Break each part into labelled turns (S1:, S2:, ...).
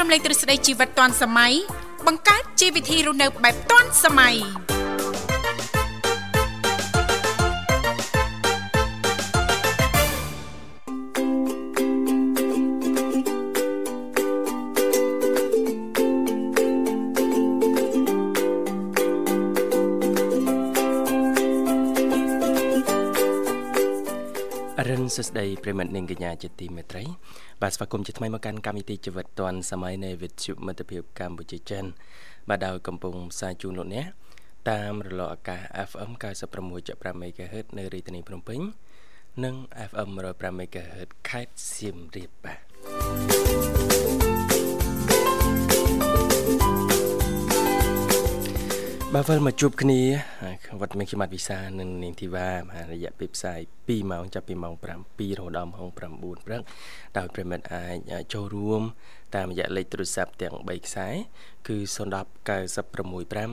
S1: រំលែកទ្រឹស្ដីជីវិតទាន់សម័យបង្កើតជីវវិធីរស់នៅបែបទាន់សម័យ
S2: រិនសួស្ដីប្រិមត្តនិងកញ្ញាជាទីមេត្រីបាទស្វាគមន៍ជាថ្មីមកកាន់កម្មវិធីជីវិតឌွန်សម័យនៃវិទ្យុមិត្តភាពកម្ពុជាចិនបាទដោយកំពុងផ្សាយជូនលោកអ្នកតាមរលកអាកាស FM 96.5 MHz នៅរាជធានីភ្នំពេញ និង FM 105 MHz ខេត្តសៀមរាបបាទបាទវិលមកជួបគ្នាវត្តមានខ្ញុំបាទវិសានិងនាងធីវ៉ាបាទរយៈពេលផ្សាយ2ម៉ោងចាប់ពីម៉ោង7រហូតដល់ម៉ោង9ព្រឹកដោយប្រិមិត្តអាចចូលរួម តាមរយៈលេខទូរស័ព្ទទាំង3ខ្សែគឺ010 965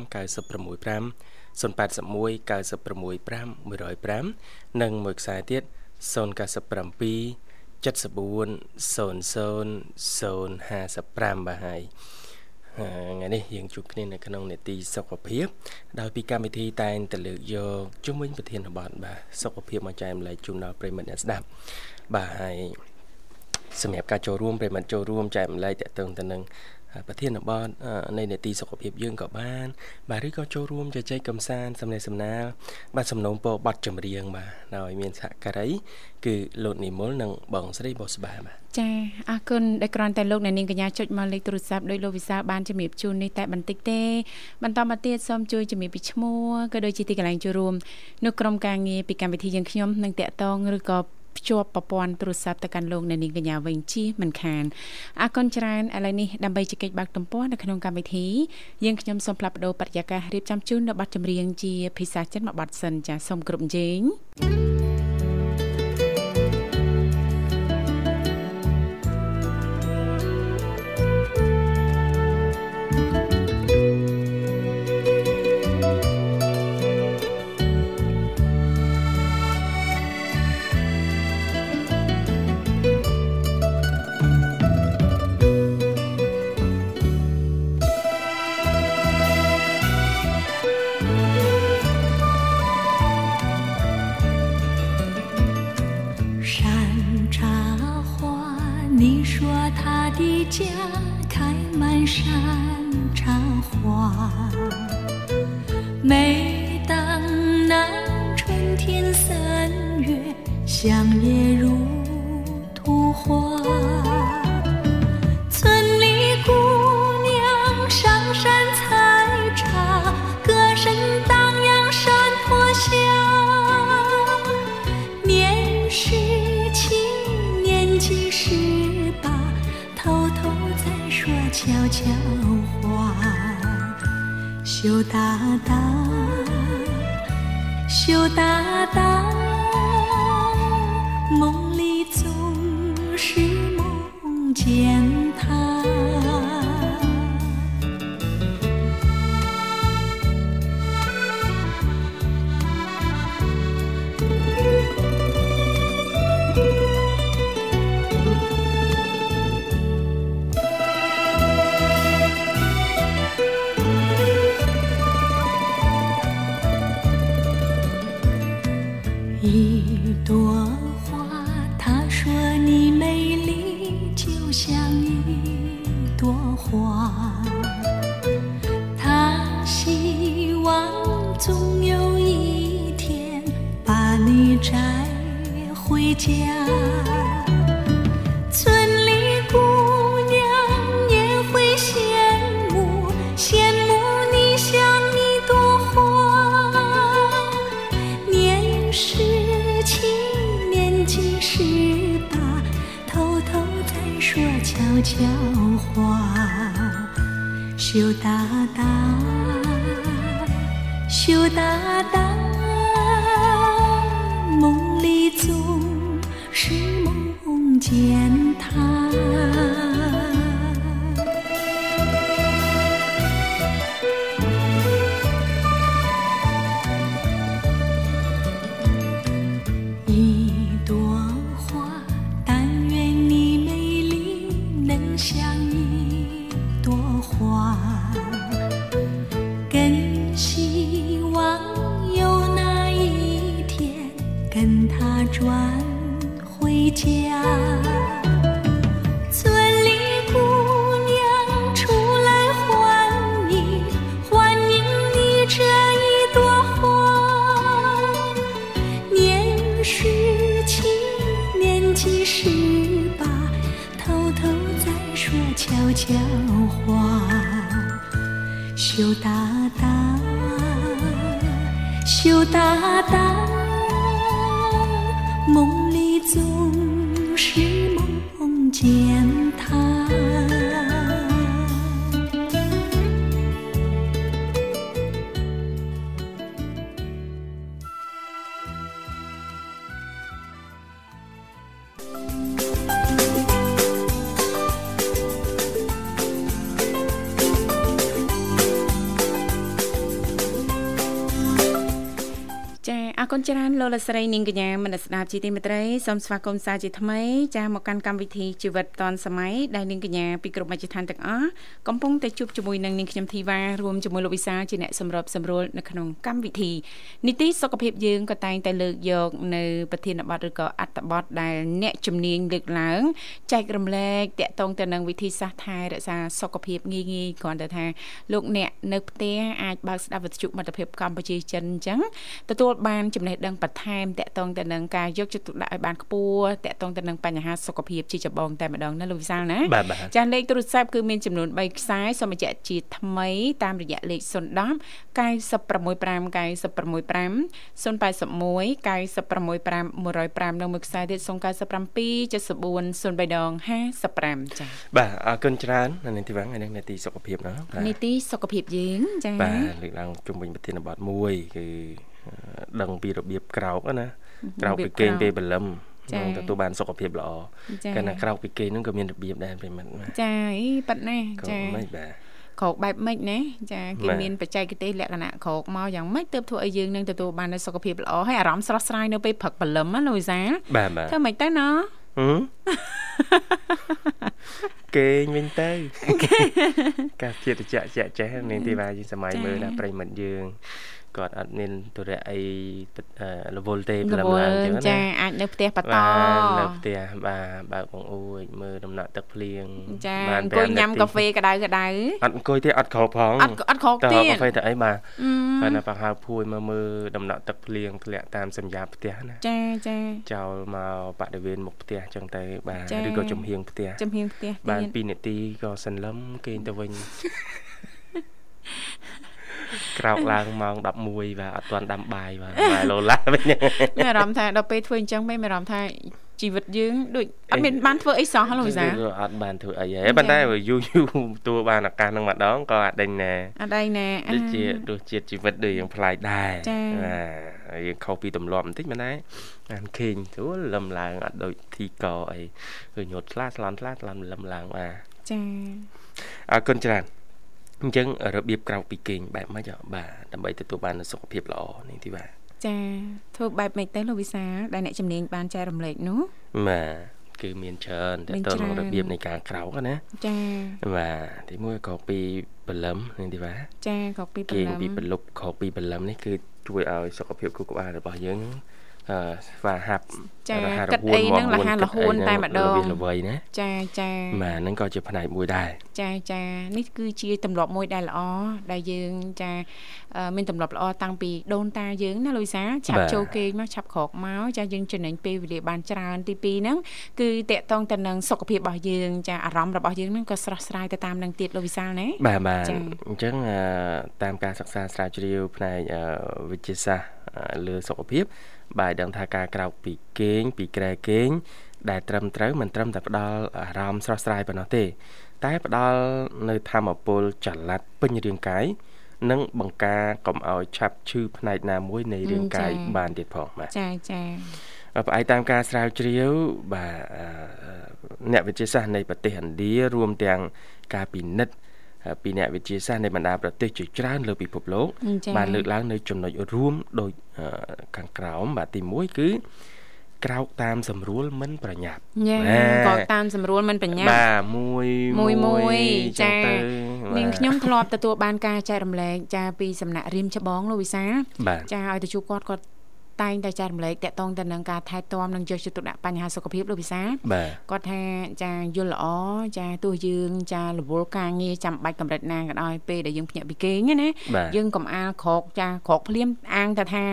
S2: 965 081 965 105និងមួយខ្សែទៀត097 7400055បាទហើយ ថ្ងៃនេះយើងជួបគ្នានៅក្នុងនេតិសុខភាពដោយពីកម្មវិធីតែងតលើកយកជំនាញប្រធានបទបាទសុខភាពមកចែកម្លែកជូនដល់ប្រិយមិត្តអ្នកស្ដាប់បាទហើយសម្រាប់ការចូលរួមប្រិយមិត្តចូលរួមចែកម្លែកតកតងទៅនឹងប្រធានបទនៃនេតិសុខភាពយើងក៏បាន បាទឬក៏ចូលរួមជជែកកម្សាន្តសំណេះសំណាលបាទសំណូមពរបទចម្រៀងបាទដោយមានសហការី គឺលោកនិមលនិងបងស្រីបុស្បាបាទ
S3: ចាអរគុណដែលគ្រាន់តែលោកអ្នកនាងកញ្ញាចុចមកលេខទូរស័ព្ទដោយលោកវិសាលបានជំរាបជូននេះតែបន្តិចទេបន្តមកទៀតសូមជួយជំរាបពីឈ្មោះក៏ដូចជាទីកន្លែងចូលរួមនៅក្រុមការងារពីកម្មវិធីយើងខ្ញុំនឹងតាក់ទងឬក៏ភ្ជាប់ប្រព័ន្ធទូរស័ព្ទទៅកាន់លោកអ្នកនាងកញ្ញាវិញជិះមិនខានអរគុណច្រើនឥឡូវនេះដើម្បីជជែកបើកទំព័រនៅក្នុងកម្មវិធីយើងខ្ញុំសូមផ្លាប់បដោបរិយាកាសរៀបចំជូននៅប័ណ្ណចម្រៀងជាភាសាចិនមួយប័ណ្ណសិនចាសូមគ្រប់ជេង
S4: 山茶花，你说他的家开满山茶花。每当那春天三月，香叶如图画。村里姑娘上山采茶，歌声荡漾山坡下。年十七，年纪十八，偷偷在说悄悄话。羞答答，羞答答，梦里总是梦见他。一朵花，他说你美丽就像一朵花，他希望总有一天把你摘回家。村里姑娘也会羡慕，羡慕你像一朵花。年十七，年纪十八，偷偷在说悄悄话。羞答答，羞答答，梦里总是梦见他。一朵花，但愿你美丽能像一家。村里姑娘出来欢迎，欢迎你这一朵花。年十七，年纪十八，偷偷在说悄悄话。羞答答，羞答答，梦里总是梦见他。
S1: ចាអរគុណច្រើនលោកលកស្រីនាងកញ្ញាមនស្សស្ដាប់ជីទីមេត្រីសូមស្វាគមន៍សាជាថ្មីចាមកកាន់កម្មវិធីជីវិតឌွန်សម័យដែលនាងកញ្ញាពីក្រុមអាជីវកម្មទាំងអស់កំពុងតែជួបជាមួយនឹងនាងខ្ញុំធីវ៉ារួមជាមួយលោកវិសាលជាអ្នកសម្របសម្រួលនៅក្នុងកម្មវិធីនីតិសុខភាពយើងក៏តែងតែលើកយកនៅប្រធានបទឬក៏អត្ថបទដែលអ្នកជំនាញលើកឡើងចែករំលែកតាក់ទងទៅនឹងវិធីសាស្ត្រថែរក្សាសុខភាពងាយងាយៗគ្រាន់តែថាលោកអ្នកនៅផ្ទះអាចបើកស្ដាប់វិទ្យុមិត្តភាពកម្ពុជាចិនអញ្ចឹង ទទួលបានចំណេះដឹងបន្ថែមតកតងទៅនឹងការយកចិត្តទុកដាក់ឲ្យបានខ្ពស់តកតងទៅនឹងបញ្ហាសុខភាពជាចម្បងតែម្ដងណាលោកវិសាលណា
S2: បាទបាទ
S1: ចាលេខទូរស័ព្ទគឺមានចំនួន3ខ្សែសូមបញ្ជាក់ជាថ្មីតាមរយៈលេខ010 965 965 081 965និងមួយខ្សែទៀត097 74 0355ចា
S2: បាទអរគុណច្រើននៅនាងទីវ៉ាថ្ងៃនេះនាទីសុខភាពណាបាទ
S1: នីតិសុខភាពយើងចា
S2: បាទលើកឡើងជុំវិញប្រធានបទមួយគឺអឺដឹងពីរបៀបក្រោកហ្នឹងណាក្រោកពីគេង
S1: របៀបក្រោក
S2: ពេលព្រលឹម
S1: ចា៎
S2: នឹងទទួលបានសុខភាពល្អ
S1: ចា៎
S2: កាលណាក្រោកពីគេងហ្នឹងក៏មានរបៀបដែរប្រិមត្តបាទ
S1: ចាអីប៉ាត់ណា
S2: ក៏
S1: ចា
S2: មិនបាទ
S1: ក្រោកបែបម៉េចណាចាគេ
S2: បាទ
S1: មានបច្ចេកទេសលក្ខណៈក្រោកមកយ៉ាងម៉េចទើបធ្វើឲ្យយើងនឹងទទួលបាននូវសុខភាពល្អហើយអារម្មណ៍ស្រស់ស្រាយនៅពេលព្រឹកព្រលឹមណាលោកវិសាល
S2: បាទបាទ
S1: ធ្វើម៉េចទៅណោះ
S2: ហឹម គេងវិញ ទៅ កាសធាតុជាក់ជាក់ចេះនាងទីវ៉ាយើងសម័យមើលដល់ប្រិមត្តយើងគាត់អត់មានទុរៈអីអឺរវល់ទេព្រលឹមឡើងអញ្ចឹងណា
S1: ចាអាចនៅផ្ទះប
S2: បា
S1: ត
S2: ទនៅផ្ទះបាទបើកបង្អួចមើលដំណក់ទឹកភ្លៀង
S1: ចា
S2: បាន
S1: អង្គុយ
S2: 5
S1: ញ៉ាំ
S2: នាទី
S1: កាហ្វេក្តៅក្តៅ
S2: អត់អង្គុយទេអត់ក្រោកផង
S1: អត់អត់ក្រោកទេ
S2: ទៅកាហ្វេទៅអីបាទបើណាបើហៅភួយមើលមើលដំណក់ទឹកភ្លៀងធ្លាក់តាមសម្យ៉ាផ្ទះណា
S1: ចាចា
S2: ចោលមកបរិវេណមុខផ្ទះចឹងទៅបាទ
S1: ចា
S2: ឬក៏ចំហៀងផ្ទះ
S1: ចំហៀងផ្ទះ
S2: បា
S1: ទៀត
S2: ន2នាទីក៏សន្លឹមគេងទៅវិញ ក្រោកឡើងម៉ោង11បាទអត់ទាន់ដាំបាយបាទបាយលោឡាវិញ
S1: មានអារម្មណ៍ថាដល់ពេលធ្វើអញ្ចឹងមិនមានអារម្មណ៍ថាជីវិតយើងដូចអត់មានបានធ្វើអីសោះលោកវិសាល
S2: អត់បានធ្វើអីហើយប៉ុន្តែ
S1: ចា៎
S2: បើយូរយូរទទួលបានឱកាសហ្នឹងម្ដងក៏អាចដេញដែរ
S1: អត់ដៃណាអា
S2: ដូចជារសជាតិជីវិតដូចយើងប្លែកដែរ
S1: ចា៎
S2: បាទហើយយើងខុសពីទម្លាប់បន្តិចមែនដែរអានខេងទូលលឹមឡើងអត់ដូចធីកអីគឺញត់ឆ្លាតស្លន់ឆ្លាតស្លន់លឹមឡើងបាទ
S1: ចា
S2: អរគុណច្រើនអញ្ចឹងរបៀបក្រោកពីគេងបែបម៉េចអ្ហ៎បាទដើម្បីទទួលបាននូវសុខភាពល្អនេះទីបាទ
S1: ចាធ្វើបែបម៉េចទៅលោកវិសាលដែលអ្នកជំនាញបានចែករំលែកនោះ
S2: បាទគឺមានច្រើនតើ
S1: មាន
S2: តើនឹង
S1: ច្រើន
S2: របៀបនៃការក្រោកហ្នឹងណា
S1: ចា
S2: បាទទីមួយក្រោកពីព្រលឹមនេះទីបាទ
S1: ចាក្រោកពីព្រ
S2: គេង
S1: លឹម
S2: ពីបន្លប់ខកពីបន្លំនេះគឺជួយឲ្យសុខភាពគូក្បាលរបស់យើងអឺស្វាហាប់
S1: ចា
S2: រហ័ស
S1: គិ
S2: រ
S1: ត
S2: ហួ
S1: អី
S2: ន
S1: ហ្នឹង
S2: មាត់
S1: រហ័ស
S2: គិត
S1: រហួន
S2: អី
S1: តែ
S2: ហ្នឹង
S1: ម្ដង
S2: វាល្វីណា
S1: ចាចា
S2: បាទហ្នឹងក៏ជាផ្នែកមួយដែរ
S1: ចាចានេះគឺជាទម្លាប់មួយដែលល្អដែលយើងចាអឺមានទម្លាប់ល្អតាំងពីដូនតាយើងណាលូយសាឆាប់ចូលគេងមកឆាប់ក្រោកមកចាយើងចំណេញពេលវេលាបានច្រើនទី2ហ្នឹងគឺតកតងទៅនឹងសុខភាពរបស់យើងចាអារម្មណ៍របស់យើងហ្នឹងក៏ស្រស់ស្រាយទៅតាមនឹងទៀតលូយសាណា
S2: បាទបាទ
S1: ចា៎
S2: អញ្ចឹងអឺតាមការសិក្សាស្រាវជ្រាវផ្នែកអឺវិទ្យាសាស្ត្រអឺលើសុខភាព បាទដឹងថាការក្រោកពីគេងពីក្រែគេង ដែលត្រឹមត្រូវមិនត្រឹមតែផ្ដល់អារម្មណ៍ស្រស់ស្រាយប៉ុណ្ណោះទេ តែផ្ដល់នៅធម្មពលចល័តពេញរាងកាយនិងបង្ការកុំឲ្យឆាប់ឈឺផ្នែកណាមួយនៃរាងកាយ
S1: ចា៎
S2: បានទៀតផងបាទ
S1: ចាចា
S2: ផ្អែកតាមការស្រាវជ្រាវបាទអឺអ្នកវិទ្យាសាស្ត្រនៃប្រទេសឥណ្ឌារួមទាំងការពិនិត្យអឺពីអ្នកវិទ្យាសាស្ត្រនៃបណ្ដាប្រទេសជាច្រើនលើពិភពលោក
S1: ចា
S2: បានលើកឡើងនៅចំណុចរួមដូចអឺខាងក្រោមបាទទី1គឺក្រោកតាមសម្រួលមិនប្រញាប់
S1: ញ៉ា
S2: ណែ
S1: ក៏តាមសម្រួលមិនបញ្ញា
S2: បាទមួយ
S1: មួយមួយ
S2: ចឹ
S1: ចា
S2: ងទៅ
S1: នាងខ្ញុំធ្លាប់ទទួលបានការចែករំលែកចាពីសំណាក់រៀមច្បងលោកវិសាល
S2: បាទ
S1: ចាឲ្យទៅជួបគាត់គាត់
S3: តែងតែចែករំលែកតកតងទៅនឹងការថែទាំនិងយកចិត្តទុកដាក់បញ្ហាសុខភាពលោកវិសាល
S2: បាទ
S3: គាត់ថាចាយល់ល្អចាទោះយើងចារវល់ការងារចាំបាច់កម្រិតណាក៏ដោយពេលដែលយើងភ្ញាក់ពីគេងហ្នឹងណា
S2: បាទ
S3: យើងកំអាលក្រោកចាក្រោកភ្លាមអាងតែថា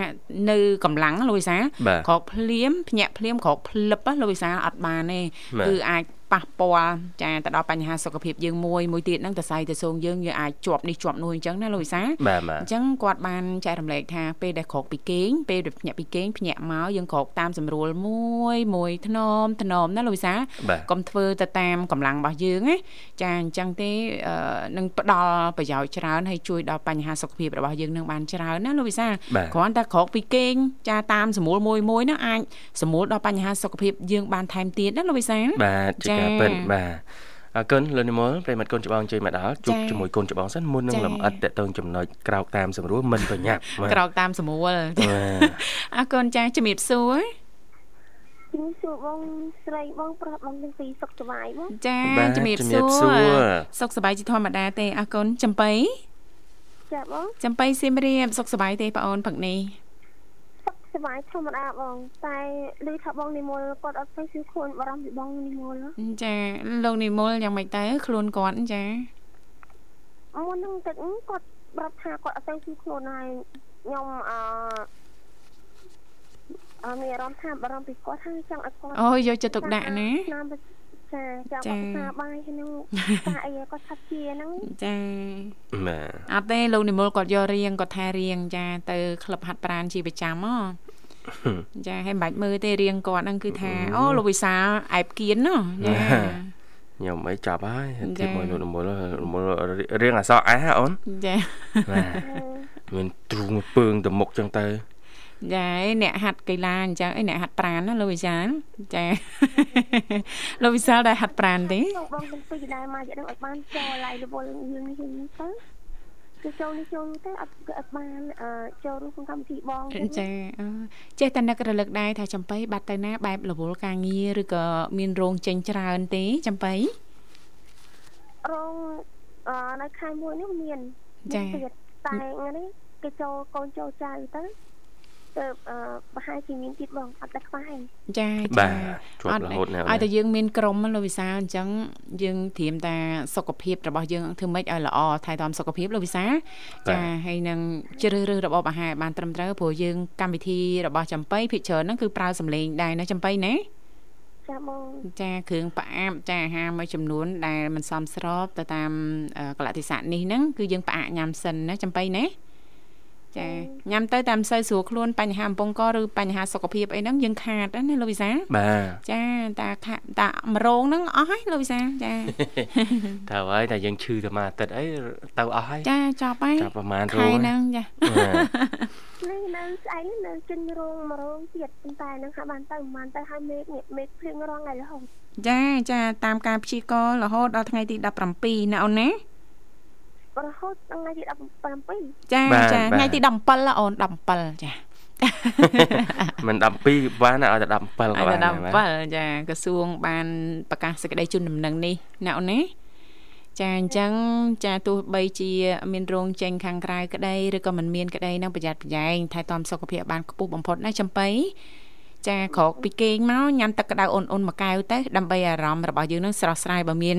S3: នៅកម្លាំងលូយសា
S2: បាទ
S3: ក្រោកភ្លាមភ្ញាក់ភ្លាមក្រោកភ្លឹបលូយសាអត់បានទេ
S2: បាទ
S3: គឺអាចប៉ះពាល់ចាទៅដល់បញ្ហាសុខភាពយើងមួយមួយទៀតហ្នឹងតសៃតសូងយើងយើងអាចជាប់នេះជាប់នោះអញ្ចឹងណាលូយសា
S2: បាទបាទ
S3: អញ្ចឹងគាត់បានចែករំលែកថាពេលដែលក្រោកពីគេងពេលដែលភ្ញាក់ពីគេងភ្ញាក់មកយើងក្រោកតាមសម្រួលមួយមួយធ្នមធ្នមណាលោកវិសាល
S2: បាទ
S3: កុំធ្វើទៅតាមកម្លាំងរបស់យើងណាចាអញ្ចឹងទេអឺនឹងផ្ដល់ប្រយោជន៍ច្រើនហើយជួយដល់បញ្ហាសុខភាពរបស់យើងនឹងបានច្រើនណាលោកវិសាល
S2: បាទ
S3: គ្រាន់តែក្រោកពីគេងចាតាមសម្រួលមួយមួយហ្នឹងអាចសម្រួលដល់បញ្ហាសុខភាពយើងបានថែមទៀតណាលោកវិសាល
S2: បាទជាការ
S3: ចា៎
S2: ពិតបាទអរគុណលោកនិមលប្រិមត្តកូនច្បងជួយមកដល់ជួប
S3: ចា៎
S2: ជាមួយកូនច្បងសិនមុននឹង
S3: ចា៎
S2: លំអិតតកតងចំណុចក្រោកតាមសម្រួលមិនប្រញាប់បាទ
S3: ក្រោកតាមសម្រួល
S2: បាទ
S3: អរគុណចាជំរាបសួរ
S5: ខ្ញុំសួរបងស្រីបងប្រុសបងទាំងពីរសុខសប្បាយបង
S3: ចា
S2: បាទ
S3: ជំរាប
S2: ជំ
S3: ស
S2: រាបសួ
S3: ួ
S2: រ
S3: រ សុខសប្បាយជាធម្មតាទេអរគុណចំបៃ
S5: ចាបង
S3: ចំបៃសៀមរាបសុខសប្បាយទេបងអូនផឹកនេះ
S5: សុខសប្បាយធម្មតាបង តែឮថាបងនិមលគាត់អត់ទៅគឺខ្លួនបារម្ភពីបងនិមល
S3: ចាលោកនិមលយ៉ាងម៉េចទៅខ្លួនគាត់ចា
S5: មុននឹងទឹកគាត់ប្រាប់ថាគាត់អត់ទៅគឺខ្លួនហើយខ្ញុំអអមានអារម្មណ៍ថាបារម្ភពីគាត់ហើយចង់ឲ្យគាត់
S3: អូយយកចិត្តទុកដាក់ណា
S5: ឆ្នាំចាចា
S3: ចា
S5: បងថាបាយ ហ្នឹងតាអីគាត់ថាជាហ្នឹង
S3: ចា
S2: បាទ
S3: អត់ទេលោកនិមលគាត់យករៀងគាត់ថារៀងចាទៅក្លឹបហាត់ប្រាណជាប្រចាំហ៎ចាហើយមិនបាច់មើលទេរៀងគាត់ហ្នឹងគឺថាអូលោកវិសាលអែបគៀនណោះចា
S2: ខ្ញុំអីចាប់ហើយ
S3: ចា៎
S2: ទីមួយលោកនិមលនិមលរៀងអសរអះហ៎អូន
S3: ចា
S2: បាទមានទ្រូងពើងទៅមុខចឹងទៅ
S3: ចាឯអ្នកហាត់កីឡាអញ្ចឹងឯអ្នកហាត់ប្រាណណាលោកវិសាលចា លោកវិសាលដែរហាត់ប្រាណទេ
S5: ចូលបងទាំងពីរដែរមកយកដឹងឲ្យបានចូលឡៃរវល់យើងនេះហ្នឹងទៅគឺចូលនេះចូលនោះទៅអត់គឺអត់បានអឺចូលរួមក្នុងកម្មវិធីបងចឹង
S3: ចាអឺចេះតែនឹករលឹកដែរថាចំបៃបាត់ទៅណាបែបរវល់ការងារឬក៏មានរោងចេញច្រើនទេចំបៃ
S5: រោងអឺនៅខែមួយនេះមាន
S3: ចា៎
S5: មានទៀតតែថ្ងៃនេះគេចូលកូនចូលចៅទៅទៅអឺប្រហែលជាមានទៀតបងអត់ដឹងខ្វះឯង
S3: ចា
S2: បា
S3: ចា
S2: ទជាប់រហូតណាស់
S3: ឲ្យ
S2: អូ
S3: តែ
S2: ន
S3: យើងមានក្រុមណាលោកវិសាលអញ្ចឹងយើងត្រៀមតាសុខភាពរបស់យើងធ្វើម៉េចឲ្យល្អថែទាំសុខភាពលោកវិសាលចាហើយនឹងជ្រើសរើសរបបអាហារឲ្យបានត្រឹមត្រូវព្រោះយើងកម្មវិធីរបស់ចំបៃភិកច្រើនហ្នឹងគឺប្រើសម្លេងដែរណាចំបៃណា
S5: ចាបង
S3: ចាគ្រឿងផ្អាប់ចាអាហារមួយចំនួនដែលមិនសមស្របទៅតាមកលតិស័កនេះហ្នឹងគឺយើងផ្អាកញ៉ាំសិនណាចំបៃណាចាញ៉ាំទៅតាមសូវស្រួលខ្លួនបញ្ហាអំពងកឬបញ្ហាសុខភាពអីហ្នឹងយើងខាតណាលោកវិសាល
S2: បាទ
S3: ចាតាខាតាមរងហ្នឹងអស់ហើយលោកវិសាល ចា
S2: ទៅហើយតែយើងឈឺតែមួយអាទិត្យអីទៅអស់ហើយ
S3: ចាចប់ហើយ
S2: ចាប់ប្រហែលរោង
S3: ខែហ្នឹងចា
S2: បាទ
S5: នៅនៅស្អែកនេះនៅជិនរោងមួយរោងទៀតប៉ុន្តែនឹងហាក់បានទៅប្រហែលទៅហើយមេឃនេះមេឃភ្លៀងរងហើយរហូត
S3: ចាចាតាមការព្យាករណ៍រហូតដល់ថ្ងៃទី17ណាអូនណា
S5: រហូតដល់ថ្ងៃទី17
S3: ចាចាថ្ងៃទី17ណាអូន17ចា
S2: មិន12វ៉ាន់ណាឲ្យតែ17ក៏
S3: អាយ
S2: បាន
S3: ដល់
S2: ដែរបាទ
S3: 7ចាក្រសួងបានប្រកាសសេចក្តីជូនដំណឹងនេះណាអូនណាចាអញ្ចឹងចាទោះបីជា មានរោងចេញខាងក្រៅក្តីឬក៏មិនមានក្តីនឹងប្រយ័ត្នប្រយែងថែទាំសុខភាពបានខ្ពស់បំផុតណាចំបៃចាក្រោកពីគេងមកញ៉ាំទឹកក្តៅអ៊ុនៗមួយកែវទៅដើម្បីអារម្មណ៍របស់យើងនឹងស្រស់ស្រាយបើមាន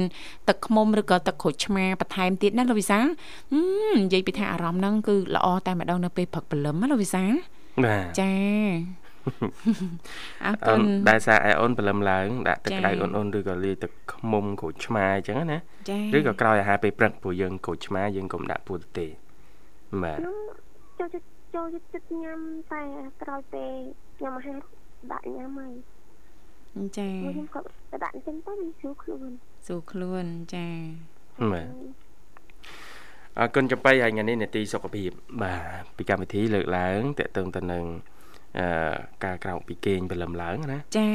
S3: ទឹកឃ្មុំឬក៏ទឹកក្រូចឆ្មាបន្ថែមទៀតណាលោកវិសាលហឹមនិយាយពីថាអារម្មណ៍ហ្នឹងគឺល្អតែម្ដងនៅពេលព្រឹកព្រលឹមណាលោកវិសាល
S2: បាទ
S3: ចា អរ
S2: អូ
S3: គុ
S2: ន
S3: ណ
S2: ដែលសារអែអូនព្រលឹមឡើងដាក់ទឹក
S3: ចា៎
S2: ក្តៅអូនអូនឬក៏លាយទឹកឃ្មុំក្រូចឆ្មាអញ្ចឹងណា
S3: ចា
S2: ឬក៏ក្រោយអាហារពេលព្រឹកព្រោះយើងក្រូចឆ្មាយើងកុំដាក់ពោះទេបាទ
S5: ខ្ញុំចូលចិត្តចូលចិត្តចិត្តញ៉ាំតែក្រោយពេលញ៉ាំអាហារដាក់ញ៉ាំហើយ
S3: ចា
S5: មួយខ្ញុំគាត់ទៅដាក់អញ្ចឹងទៅវាស្រួលខ្លួន
S3: សួរខ្លួនចា
S2: បាទអរគុណចំបៃហើយថ្ងៃនេះនេតិសុខភាព បាទពីកម្មវិធីលើកឡើងតកតឹងទៅនឹងអឺការក្រោកពីគេងព្រលឹមឡើងណា
S3: ចា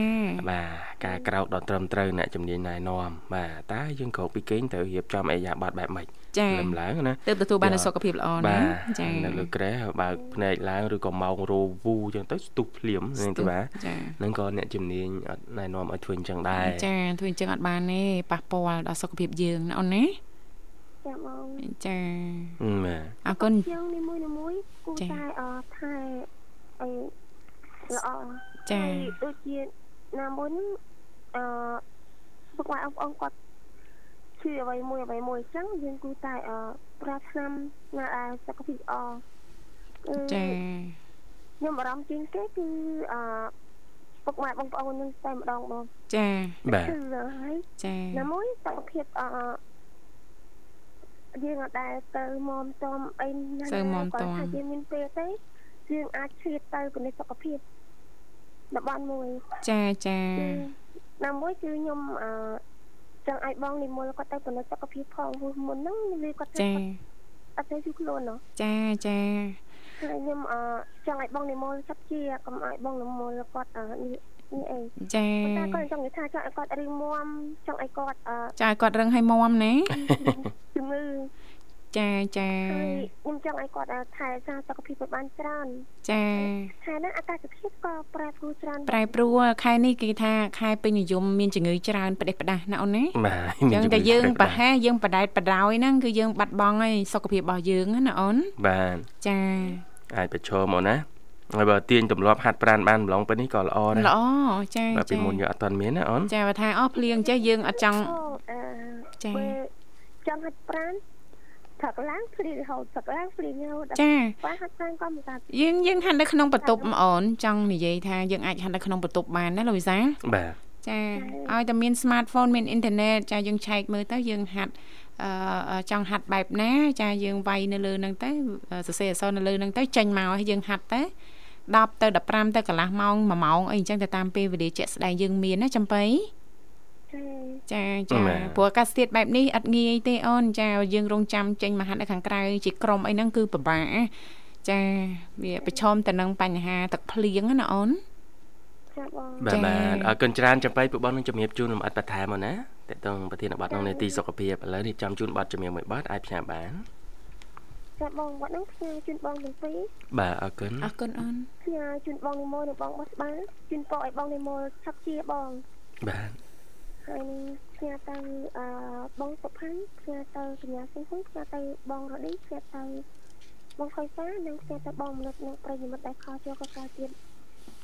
S2: បាទការក្រោកដល់ត្រឹមត្រូវអ្នកជំនាញណែនាំបាទតើយើងក្រោកពីគេងត្រូវរៀបចំអាយ៉ាប័តបែបម៉េច
S3: ចា
S2: ព្រលឹមឡើងណា
S3: ទើបទទួលបាននូវសុខភាពល្អណា
S2: បាទ
S3: ចា
S2: នៅលើក្រែបើកភ្នែកឡើងឬក៏ម៉ោងរោវូអញ្ចឹងទៅស្ទុះភ្លាមហ្នឹងទេបាទ
S3: ចា
S2: ហ្នឹងក៏អ្នកជំនាញអត់ណែនាំឲ្យធ្វើអញ្ចឹងដែរ
S3: ចាធ្វើអញ្ចឹងអត់បានទេប៉ះពាល់ដល់សុខភាពយើងណាអូនណា
S5: ចាបង
S3: ចា
S2: បាទ
S3: អរគុណ
S5: យើងនីមួយនីមួយៗគូ
S3: ចា៎
S5: តែអថែអី ល្អ
S3: ចា៎
S5: ហើយដូចជាណាមុនអឺពុកម៉ែអងៗគាត់ជឿអ្វីមួយអ្វីមួយអញ្ចឹងយើងគូតែអឺប្រាថ្នាណាដែលសុខភាពល្អអឺ
S3: ចា
S5: ខ្ញុំអារម្មណ៍ជាងគេគឺអឺពុកម៉ែបងប្អូននឹងតែម្ដងបង
S3: ចា
S2: បាទ
S5: គឺហើយ
S3: ចា
S5: ណាមួយសុខភាពអឺយើងអត់ដែលទៅមមតំអីណា
S3: សូវមមត
S5: គាត់
S3: ម
S5: ថាយើងមានពេលទេយើងអាចឈៀតទៅគណិតសុខភាពតំបន់មួយ
S3: ចាចា
S5: គឺណាមួយគឺខ្ញុំអឺចង់ឲ្យបងនិមលគាត់ទៅគណិតសុខភាពផងព្រោះមុនហ្នឹងនិយាយគាត់ថា
S3: ចា
S5: គាត់អត់ទៅជួយខ្លួនណោះ
S3: ចាចា
S5: ហើយខ្ញុំអឺចង់ឲ្យបងនិមលសັບជាកុំឲ្យបងនិមលគាត់អឺនេះនេះអី
S3: ចា
S5: ប៉ុន្តែគាត់ចង់និយាយថាចង់ឲ្យគាត់រឹងមាំចង់ឲ្យគាត់អឺ
S3: ចាឲ្យគាត់រឹងឲ្យមមណា
S5: ជំងឺ
S3: ចាចា
S5: ហើយខ្ញុំចង់ឲ្យគាត់អឺថែរក្សាសុខភាពឲ្យបានច្រើន
S3: ចា
S5: ខែហ្នឹងអាកាសធាតុក៏ប្រែប្រួលច្រើន
S3: ប្រែប្រួលខែនេះគេថាខែពេញនិយមមានជំងឺច្រើនផ្ដេសផ្ដាសណាអូនណា
S2: បាទ
S3: អញ្ចឹងតែយើងប្រហែលយើងបដែតបដោយហ្នឹងគឺយើងបាត់បង់ហើយសុខភាពរបស់យើងហ្នឹងណាអូន
S2: បាទ
S3: ចា
S2: អាចប្រឈមអូនណាហើយបើទាញទម្លាប់ហាត់ប្រាណបានម្លងពេលនេះក៏ល្អដែរ
S3: ល្អចា
S2: បាទពី
S3: ចា
S2: មុនយើងអត់ទាន់មានណាអូន
S3: ចាបើថាអស់ភ្លៀងចេះយើងអត់ចង់
S5: អូអឺ
S3: ចា៎
S5: ពេលចង់ហាត់ប្រាណព្រឹកឡើងព្រីរហូតព្រឹកឡើងព្រីរហូត
S3: ចា
S5: បើហាត់ប្រាណក៏មិនកើត
S3: យើងយើងហាត់នៅក្នុងបន្ទប់មកអូនចង់និយាយថាយើងអាចហាត់នៅក្នុងបន្ទប់បានណាលោកវិសាល
S2: បាទ
S3: ចាឲ្យតែមាន smartphone មានអ៊ីនធឺណិតចាយើងឆែកមើលទៅយើងហាត់អឺចង់ហាត់បែបណាចាយើងវាយនៅលើហ្នឹងទៅអឺសរសេរអក្សរនៅលើហ្នឹងទៅចេញមកឲ្យយើងហាត់ទៅ10ទៅ15ទៅកន្លះម៉ោង1ម៉ោងអីអញ្ចឹងទៅតាមពេលវេលាជាក់ស្ដែងយើងមានណាចំបៃ
S5: ទេ
S3: ចាចាព្រោះអាកាសធាតុបែបនេះឥតងាយទេអូនចាយើងរងចាំចេញមកហាត់នៅខាងក្រៅជាក្រុមអីហ្នឹងគឺពិបាកណាចាវាប្រឈមទៅនឹងបញ្ហាទឹកភ្លៀងណាអូន
S5: ចា៎បង
S2: បាទ
S3: ចា៎
S2: បាទអរគុណច្រើនចំបៃពួកបងនឹងជំរាបជូនលំអិតបន្ថែមអូនណាតកតងប្រធានបទក្នុងនេតិសុខភាពឥឡូវនេះចាំជូនបទជំរាបមួយបទអាចផ្សាយបាន
S5: ចា៎បងវត្តហ្នឹងផ្ញើជូនបងទាំងពីរ
S2: បាទអរគុណ
S3: អរគុណអូន
S5: ផ្ញើជូនបងនិមលនិងបងបោះស្បាជូនពរឲ្យបងនិមលឆាប់ជាបង
S2: បាទ
S5: ហើយនឹងផ្ញើទៅអឺបងសុផាន់ផ្ញើទៅកញ្ញាសិង្ហហ៊ុនផ្ញើទៅបងរដីផ្ញើទៅបងខុយសានិងផ្ញើទៅបងមនុស្សនិងប្រិយមិត្តដែលខលចូលកកទៀត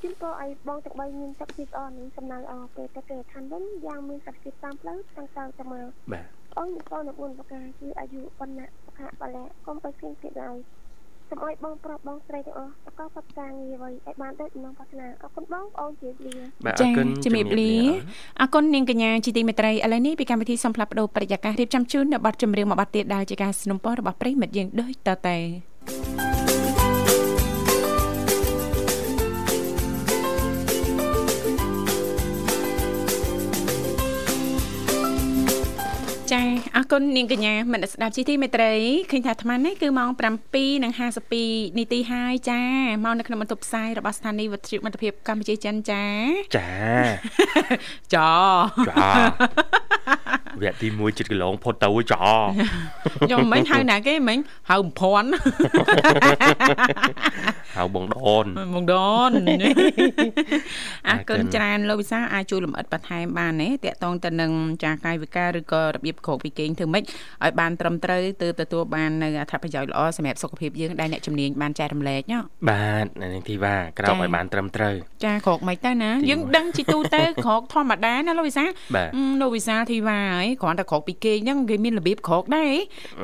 S5: ជូនពរឲ្យបងទាំងបីមានសុខភាពល្អនិងសំណាងល្អពេលទៅគេឋានវិញយ៉ាងមានសុខភាពតាមផ្លូវទាំងទៅទៅមក
S2: បាទ
S5: អូននិកលនិមលប្រការគឺអាយុបណ្ណៈសុខៈបលៈកុំបិទផ្សេងទៀតឡើយសូមឲ្យបងប្រុសបងស្រីទាំងអស់ប្រកបកិច្ចការងារអ្វីឲ្យបានដូចដំណងប្រាថ្នាអរគុណបងប្អូនជម្រាបលា
S2: បាទអរគុណ
S3: ជំរាបលា
S2: អូន
S3: អរគុណនាងកញ្ញាជាទីមេត្រីឥឡូវនេះពីកម្មវិធីសំផ្លាប់បដោប្រយាកររៀបចំជូននៅប័ណ្ណចម្រៀងមួយប័ណ្ណទៀតដែលជាការสนับสนุนរបស់ប្រិយមិត្តយើងដូចតទៅចាអរគុណនាងកញ្ញាមនស្សស្ដាប់ជីទីមេត្រីឃើញថាអាត្មានេះគឺម៉ោង7:52នាទីហើយចាមកនៅក្នុងបន្ទប់ផ្សាយរបស់ស្ថានីយ៍វិទ្យុមិត្តភាពកម្ពុជាចិនចា
S2: ចា
S3: ច
S2: ចាវគ្គទី1ចិត្តកន្លងផុតទៅហើយចា
S3: ខ្ញុំមិញហៅណាគេមិញហៅបំ ភាន់
S2: ហៅបងដូន
S3: បងដនអរគុ
S2: អរគុ
S3: ណ
S2: ណ
S3: ច្រើនលោកវិសាលអាចជួយលំអិតបន្ថែមបានទេតកតងទៅនឹងចាកាយវិការឬក៏របៀបក្រោកពីគេងធ្វើម៉េចឲ្យបានត្រឹមត្រូវទើបទទួលបាននៅអត្ថប្រយោជន៍ល្អសម្រាប់សុខភាពយើងដែលអ្នកជំនាញបានចែករំលែកណា
S2: បាទនៅនាងធីវ៉ាក្រោក
S3: ចា
S2: ឲ្យបានត្រឹមត្រូវ
S3: ចាក្រោកមិនទៅណា
S2: ទី
S3: យើងដឹងជីទូ ទៅក្រោកធម្មតាណាលោកវិសាល
S2: បាទ
S3: អឺលោកវិសាលធីវ៉ាហើយគ្រាន់តែក្រោកពីគេងហ្នឹងគេមានរបៀបក្រោកដែរ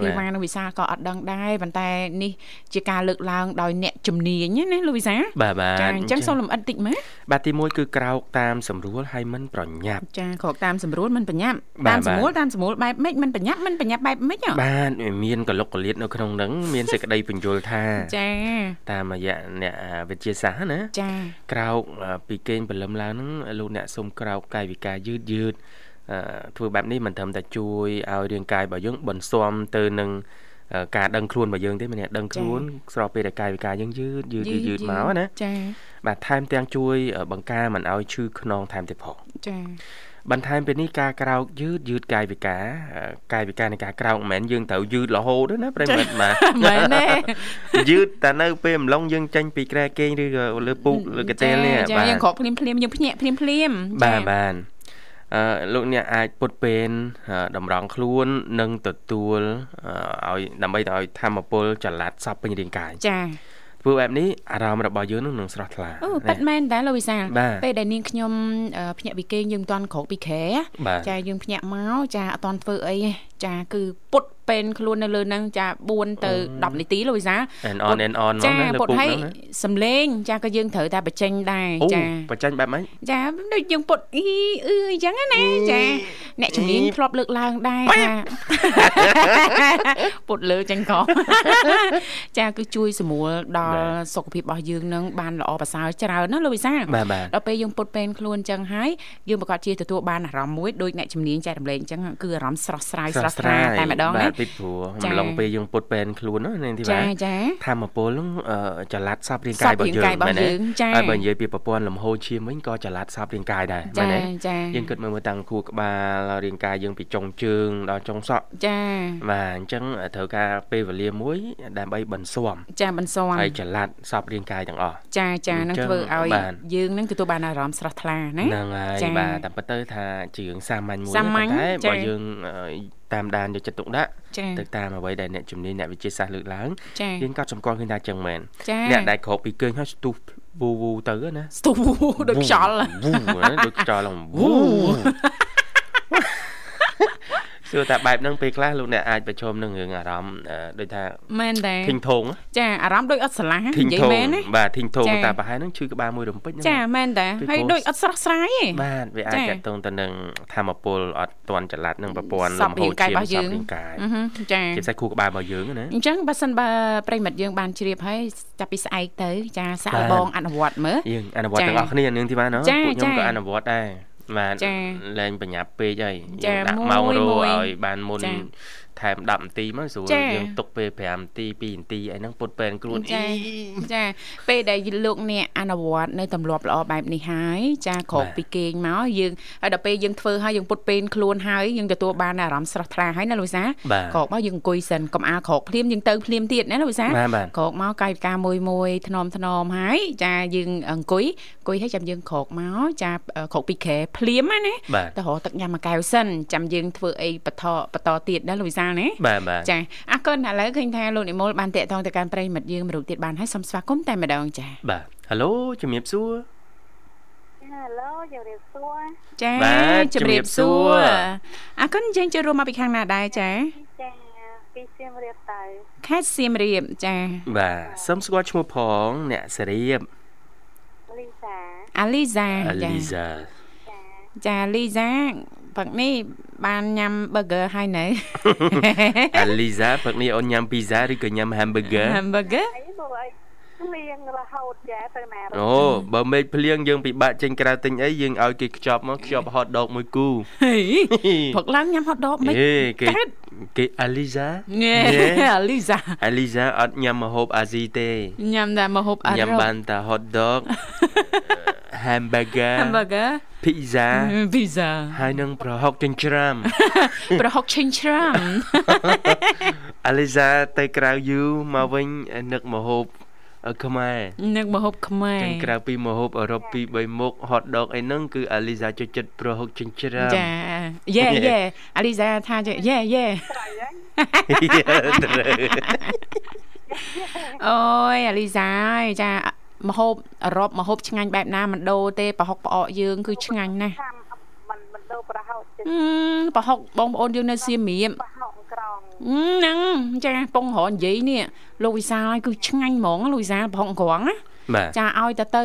S2: បាទ
S3: ធីវ៉ានិងវិសាលក៏អត់ដឹងដែរប៉ុន្តែនេះជាការលើកឡើងដោយអ្នកជំនាញណាលោកវិសាល
S2: បាទបា
S3: ចា
S2: ទ
S3: អញ្ចឹងសូមលំអិតតិចមើល
S2: បាទទី1គឺក្រោកតាមសម្រួលហើយមិនប្រញាប់
S3: ចាក្រោកតាមស្រួលមិនប្រញាប់
S2: បាទ
S3: តាមស្រួល
S2: បាទ
S3: តាមស្រួលបែបម៉េចមិនប្រញាប់មិនប្រញាប់បែបម៉េចហ៎
S2: បាទមានកលុកកលៀតនៅក្នុងហ្នឹងមានសេចក្តីបញ្យលថា
S3: ចា
S2: តាមរយៈអ្នកអាវិទ្យាសាស្ត្រណា
S3: ចា
S2: ក្រោកអ่าពីគេងព្រលឹមឡើងហ្នឹងលោកអ្នកសុំក្រោកកាយវិការយឺតយឺតអ่าធ្វើបែបនេះមិនត្រឹមតែជួយឲ្យរាងកាយរបស់យើងបន្ស៊ាំទៅនឹងអ่าការដឹងខ្លួនរបស់យើងទេម្នាក់ដឹងខ្លួនស្របពេលដែលកាយវិការយើងយឺតយឺតយឺតយឺតមកណា
S3: ចា
S2: បាទថែមទាំងជួយបង្ការមិនឲ្យឈឺខ្នងថែមទៀតផង
S3: ចា
S2: បន្ថែមពីនេះការក្រោកយឺតយឺតកាយវិការអឺកាយវិការនៃការក្រោកមិនមែនយើងត្រូវយឺតរហូតទេណាប្រិយមិត្ត បាទ
S3: មែនទេ
S2: យឺតតែនៅពេលអំឡុងយើងចេញពីក្រែគេងឬក៏លើពូ កលើកាទេលនេះ
S3: ចា
S2: បា
S3: ចា
S2: ទ
S3: យើងក្រោកភ្លាមភ្លាមៗយើងភ្ញាក់ភ្លាមភ្លាមៗ
S2: បាទ
S3: ចា
S2: បាទអឺលោកអ្នកអាចពុតពេនអឺតម្រង់ខ្លួននិងទទួលអឺឲ្យដើម្បីទៅឲ្យធម្មពលចល័តសពពេញរាងកាយ
S3: ចា
S2: ធ្វើបែបនេះអារម្មណ៍របស់យើងនឹងនឹងស្រស់ថ្លា
S3: អូប៉ាត់
S2: ណា
S3: មែនដែរលោកវិសាល
S2: បាទ
S3: ពេលដែលនាងខ្ញុំអឺភ្ញាក់ពីគេងយើងមិនតាន់ក្រោកពីខែ
S2: បាទ
S3: ចាយើងភ្ញាក់មកចាអត់តាន់ធ្វើអីទេចាគឺពុតពេនខ្លួននៅលើហ្នឹងចា4ទៅ10នាទីលោកវិសាល
S2: and on and on
S3: ចា
S2: ហ្ង
S3: ពុត
S2: ក
S3: ឲ្យ
S2: ងណា
S3: សំលេង ចាក៏យើងត្រូវតែបញ្ចេញដែរ
S2: អូ
S3: ចា
S2: បច្ចាញ់បែបម៉េច
S3: ចាដូចយើងពុតអ៊ីអឺអញ្ចឹងណា ចាអ្នកជំនាញធ្លាប់លើកឡើងដែរថា ពុតលើចឹង ក៏ ចាគឺជួយសម្រួលដល់
S2: បាទ
S3: សុខភាពរបស់យើងនឹងបានល្អប្រសើរច្រើនណាលោកវិសាល
S2: បាទបាទ
S3: ដល់ពេលយើងពុតពេនខ្លួនចឹងហើយយើងប្រកាសជាទទួលបានអារម្មណ៍មួយដូចអ្នកជំនាញចែករំលែកចឹងគឺអារម្មណ៍ស្រស់ស្រាយស្រស់ស្រាយតែម្ដង
S2: បា
S3: ណា
S2: ទពីព្រោះ
S3: ចា៎
S2: ម្លងពេលយើងពុតពេនខ្លួនណានាងធីបា
S3: ចាចា
S2: ធម្មពលហ្នឹងអឺចល័តសាប់រាង
S3: ស
S2: កាយរ
S3: ព
S2: បស់យើងទេ
S3: រាងកាយរបស់យើងចា
S2: ហើយបើនិយាយពីប្រព័ន្ធលំហូរឈាមវិញក៏ចល័តសាប់រាងកាយដែរមែ
S3: ចា
S2: នទេ
S3: ចា
S2: យើងគិតមើលមើលតាំងខួរក្បាលរាងកាយយើងពីចុងជើងដល់ចុងសក់
S3: ចា
S2: បាទអញ្ចឹងត្រូវការពេលវេលាមួយដើម្បីបន្ស៊ាំ
S3: ចាបន្សំ
S2: ហើយចល័តសាប់រាងកាយទាំងអស់
S3: ចាចានឹង
S2: អញ្ចឹង
S3: ធ្វើឲ្យ
S2: បាន
S3: យើងនឹងទទួលបានអារម្មណ៍ស្រស់ថ្លាណា
S2: ហ្នឹងហើយ
S3: ចា៎
S2: បាទតាមពិតទៅថាជារឿងសាមញ្ញមួយ
S3: សាម
S2: ប៉ុ
S3: ញ្ញ
S2: ន្តែ
S3: ចា៎
S2: បើយើងអឺតាមដានយកចិត្តទុកដាក់
S3: ចា
S2: ទៅតាមអ្វីដែលអ្នកជំនាញអ្នកវិទ្យាសាស្ត្រលើកឡើង
S3: ចា
S2: យើងក៏សម្គាល់ឃើញថាចឹងមែន
S3: ចា
S2: អ្នកដែលក្រោកពីគេងហើយស្ទុះវូវូទៅណា
S3: ស្ទូដូចខ្យល់
S2: វូវូណាដូចខ្យល់ឡងវូ សួរតែបែបហ្នឹងពេលខ្លះលោកអ្នកអាចប្រឈមនឹងរឿងអារម្មណ៍អឺដូចថា
S3: មែនដែរ
S2: ធីងធង
S3: ចាអារម្មណ៍ដូចអត់ស្រឡះ
S2: ធីង
S3: និយាយ
S2: ធង
S3: មែនណា
S2: បាទធីងធង
S3: ចា៎
S2: តែប្រហែលហ្នឹងឈឺក្បាលមួយរំពេចហ្នឹង
S3: ចាមែនដែរ
S2: ពី
S3: ហើយ
S2: ព្រោះ
S3: ដូចអត់ស្រស់ស្រាយទេ
S2: បាទវាអាច
S3: ចា៎
S2: តកតងទៅនឹងធម្មពលអត់តន់ចល័តនឹងប្រព័ន្ធ
S3: សព
S2: លំ
S3: រា
S2: ហូ
S3: ង
S2: រ
S3: កាយ
S2: ឈាម
S3: របស់យើង
S2: សពរាងកាយ
S3: អឺហឹមចា
S2: ជាពិសេសខួរក្បាលរបស់យើងណា
S3: អញ្ចឹងបើសិនបើប្រិមិត្តយើងបានជ្រាបហើយចាប់ពីស្អែកទៅ ចាសាក
S2: បាទ
S3: ល្បងអនុវត្តមើល
S2: យើងអនុវត្ត
S3: ចា៎
S2: ទាំងអស់គ្នានាងធីវ៉ាណា
S3: ចា៎
S2: ពួកខ្ញុំ
S3: ចា៎
S2: ក៏អនុវត្តដែរបាទ
S3: ចា៎
S2: លែងបញ្ញាប់ពេកហើយយើ
S3: ចា៎
S2: ងដាក់
S3: មួយ
S2: ម៉ោងរ
S3: មួ
S2: ោ
S3: យ
S2: ឲ្យបានមុន
S3: ចា៎
S2: ថែម10នាទីមកស្រួល
S3: ចា៎
S2: យើងទុកពេល5នាទី2នាទីអីហ្នឹងពុតពេនគ្រួន
S3: ចា៎
S2: អី
S3: ចាពេលដែលលោកអ្នកអនុវត្តនៅទម្លាប់ល្អបែបនេះហើយចាក្រោក
S2: បាទ
S3: ពីគេងមកយើងហើយដល់ពេលយើងធ្វើហើយយើងពុតពេនខ្លួនហើយយើងទទួលបានអារម្មណ៍ស្រស់ថ្លាហើយណាលូយសា
S2: បាទ
S3: ក្រោកមកយើងអង្គុយសិនកុំអាលក្រោកភ្លាមយើងទៅភ្លាមទៀតណាលូយសា
S2: បាទបាទ
S3: ក្រោកមកកាយវិការមួយមួយថ្នមថ្នមហើយចាយើងអង្គុយអង្គុយហើយចាំយើងក្រោកមកចាក្រោកពីខែភ្លាមណាណា
S2: បាទ
S3: ទៅរកទឹកញ៉ាំមួយកែវសិនចាំយើងធ្វើអីបន្តបន្តទៀតណាលូយសាណា
S2: បាទបាទ
S3: ចាអរគុណឥឡូវឃើញថាលោកនិមលបានតាក់ទងទៅកាន់ប្រិយមិត្តយើងមួយរូបទៀតបានហើយសូមស្វាគមន៍តែម្ដងចា
S2: បាទហេឡូជំរាបសួរ
S5: ហាឡូជម្រាបសួរ
S3: ចា
S2: បាទ
S3: ជម្រាប
S2: ជម្រាប
S3: សួ
S2: សួ
S3: រ
S2: រ
S3: អរគុណយើងចូលរួមមកពីខាងណាដែរចា
S5: ចាពីសៀមរាបទៅ
S3: ខេត្តសៀមរាបចា
S2: បាទសូមស្គាល់ឈ្មោះផងអ្នកសេរីប
S5: លីសា
S3: អាលីសា
S2: អ
S3: ចា
S2: លីសា
S3: ចាលីសាផឹកនេះបានញ៉ាំ burger ហើយនៅ
S2: អលីសាពេលនេះអូនញ៉ាំពីហ្សាឬក៏ញ៉ាំ hamburger
S3: hamburger
S5: អីមកអីលៀងរហូតចាទៅណារហូត
S2: អូបើមេឃភ្លៀងយើងពិបាកចេញក្រៅទិញអីយើងឲ្យគេខ្ចប់មកខ្ចប់ហតដុកមួយគូ
S3: ហីផឹកឡើងញ៉ាំ hot dog មិន
S2: ហេគេ
S3: កើត
S2: គេអាលីសាញ៉ែ
S3: ញ៉ែ អាលីសា
S2: អាលីសាអត់ញ៉ាំម្ហូបអាស៊ីទេ
S3: ញ៉ាំតែម្ហូបអ
S2: ញ៉ាំ
S3: រ៉ូប
S2: បានតែ hot dog hamburger
S3: hamburger
S2: pizza
S3: pizza
S2: ហើយនឹងប្រហុកចិញ្ច្រាំ
S3: ប្រហុកឆេងច្រាំ
S2: អាលីសាទៅក្រៅយូរមកវិញនឹកម្ហូបខ្មែរ
S3: នឹកម្ហូបខ្មែរ
S2: ចេញក្រៅពីម្ហូបអឺរ៉ុបពីរ3មុខ hot dog អីហ្នឹងគឺអាលីសាចូលចិត្តប្រហុកចិញ្ច្រាំ
S3: ចាយេយេអាលីសាថាចេះយេយេ
S2: ត្រូវ
S3: អូយអាលីសាអើយចាមហូបអឺរ៉ុបមហូបឆ្ងាញ់បែបណាមិនដូរទេប្រហុកផ្អកយើងគឺឆ្ងាញ់ណាស់
S5: តាមមិនមិនដូរប្រហោចចិត្ត
S3: ហឹមប្រហុកបងប្អូនយើងនៅសៀមរាប
S5: ប្រហោចក្រង
S3: ហឹមហ្នឹងចាពងរហននិយាយនេះលោកវិសាលគឺឆ្ងាញ់ហ្មងលោកវិសាលប្រហុកក្រងណា
S2: បាទ
S3: ចាឲ្យតែទៅ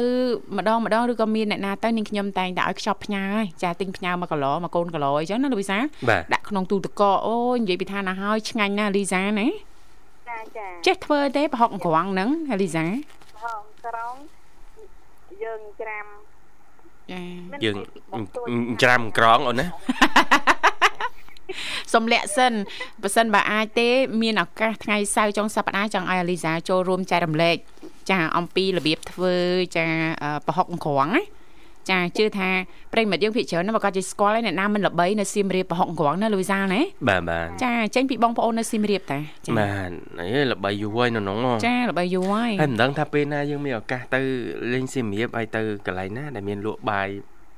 S3: ម្ដងម្ដងឬក៏មានអ្នកណាទៅនាងខ្ញុំតែងតែឲ្យខ្ចប់ផ្ញើហើយចាទិញផ្ញើមកកន្លោមកកូនកន្លោអីចឹងណាលោកវិសាល
S2: បាទ
S3: ដាក់ក្នុងទូទឹកកកអូយនិយាយពីថាណាហើយឆ្ងាញ់ណាស់លីសាណា
S5: ចាចា
S3: ចេះធ្វើទេប្រហុកអង្ក្រងហ្នឹងអាលីសា
S5: ប្រហោចក្រងយើងច្រាំ
S3: ចា
S5: មាន
S2: យើង
S5: ពីបុកទួយ
S2: ច្រាំក្រងអូនណា
S3: សុំលាក់សិនបើសិនបើអាចទេ មានឱកាសថ្ងៃសៅរ៍ចុងសប្តាហ៍ចង់ឲ្យអាលីសាចូលរួមចែករំលែកចាអំពីរបៀបធ្វើចាអឺប្រហុកអង្ក្រងណាចាជឿថាប្រិយមិត្តយើងភាគច្រើនហ្នឹងប្រកាសជាស្គាល់ហើយអ្នកណាមិនល្បីនៅសៀមរាបប្រហុកអង្ក្រងណាលូយសាណា
S2: បាទបាទ
S3: ចាចេញពីបងប្អូននៅសៀមរាបតាចា
S2: បាទអីល្បីយូរហើយនៅក្នុងហ៎
S3: ចាល្បីយូរហើយ
S2: ហើយមិនដឹងថាពេលណាយើងមានឱកាសទៅលេងសៀមរាបហើយទៅកន្លែងណាដែលមានលក់បាយ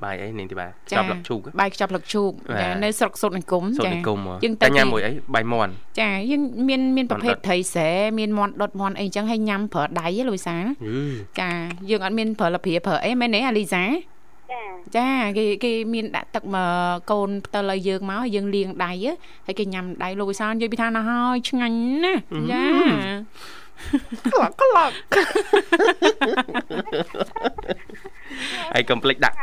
S2: បាយអីនាងទីបា
S3: ចា
S2: ចាប់លឹកឈូកហ៎
S3: បាយខ្ចប់លឹកជូក
S2: បាទ
S3: ចានៅស្រុកសុតនិគម
S2: សូត្រ
S3: ចា
S2: និគមហ៎
S3: យើងទៅ
S2: តែញ៉ាំ
S3: ទី
S2: មួយអីបាយមន់
S3: ចាយើងមានមានប្រភេទ
S2: មាន់ដុត
S3: ត្រីស្រែមានមាន់ដុតមាន់អីចឹងហើយញ៉ាំប្រើដៃហ៎លូយសា
S2: យឺ
S3: ចាយើងអត់មានប្រើលព្រាប្រើអីមែនទេអាលីសាចា
S5: ចា
S3: គេគេមានដាក់ទឹកមកកូនផ្ទិលឲ្យយើងមកហើយយើងលាងដៃហ៎ហើយគេញ៉ាំដៃលូយសានិយាយពីថាណាស់ហើយឆ្ងាញ់ណាស់ចា
S2: ក្លាក់ក្លាក់ហើយកុំភ្លេចដាក់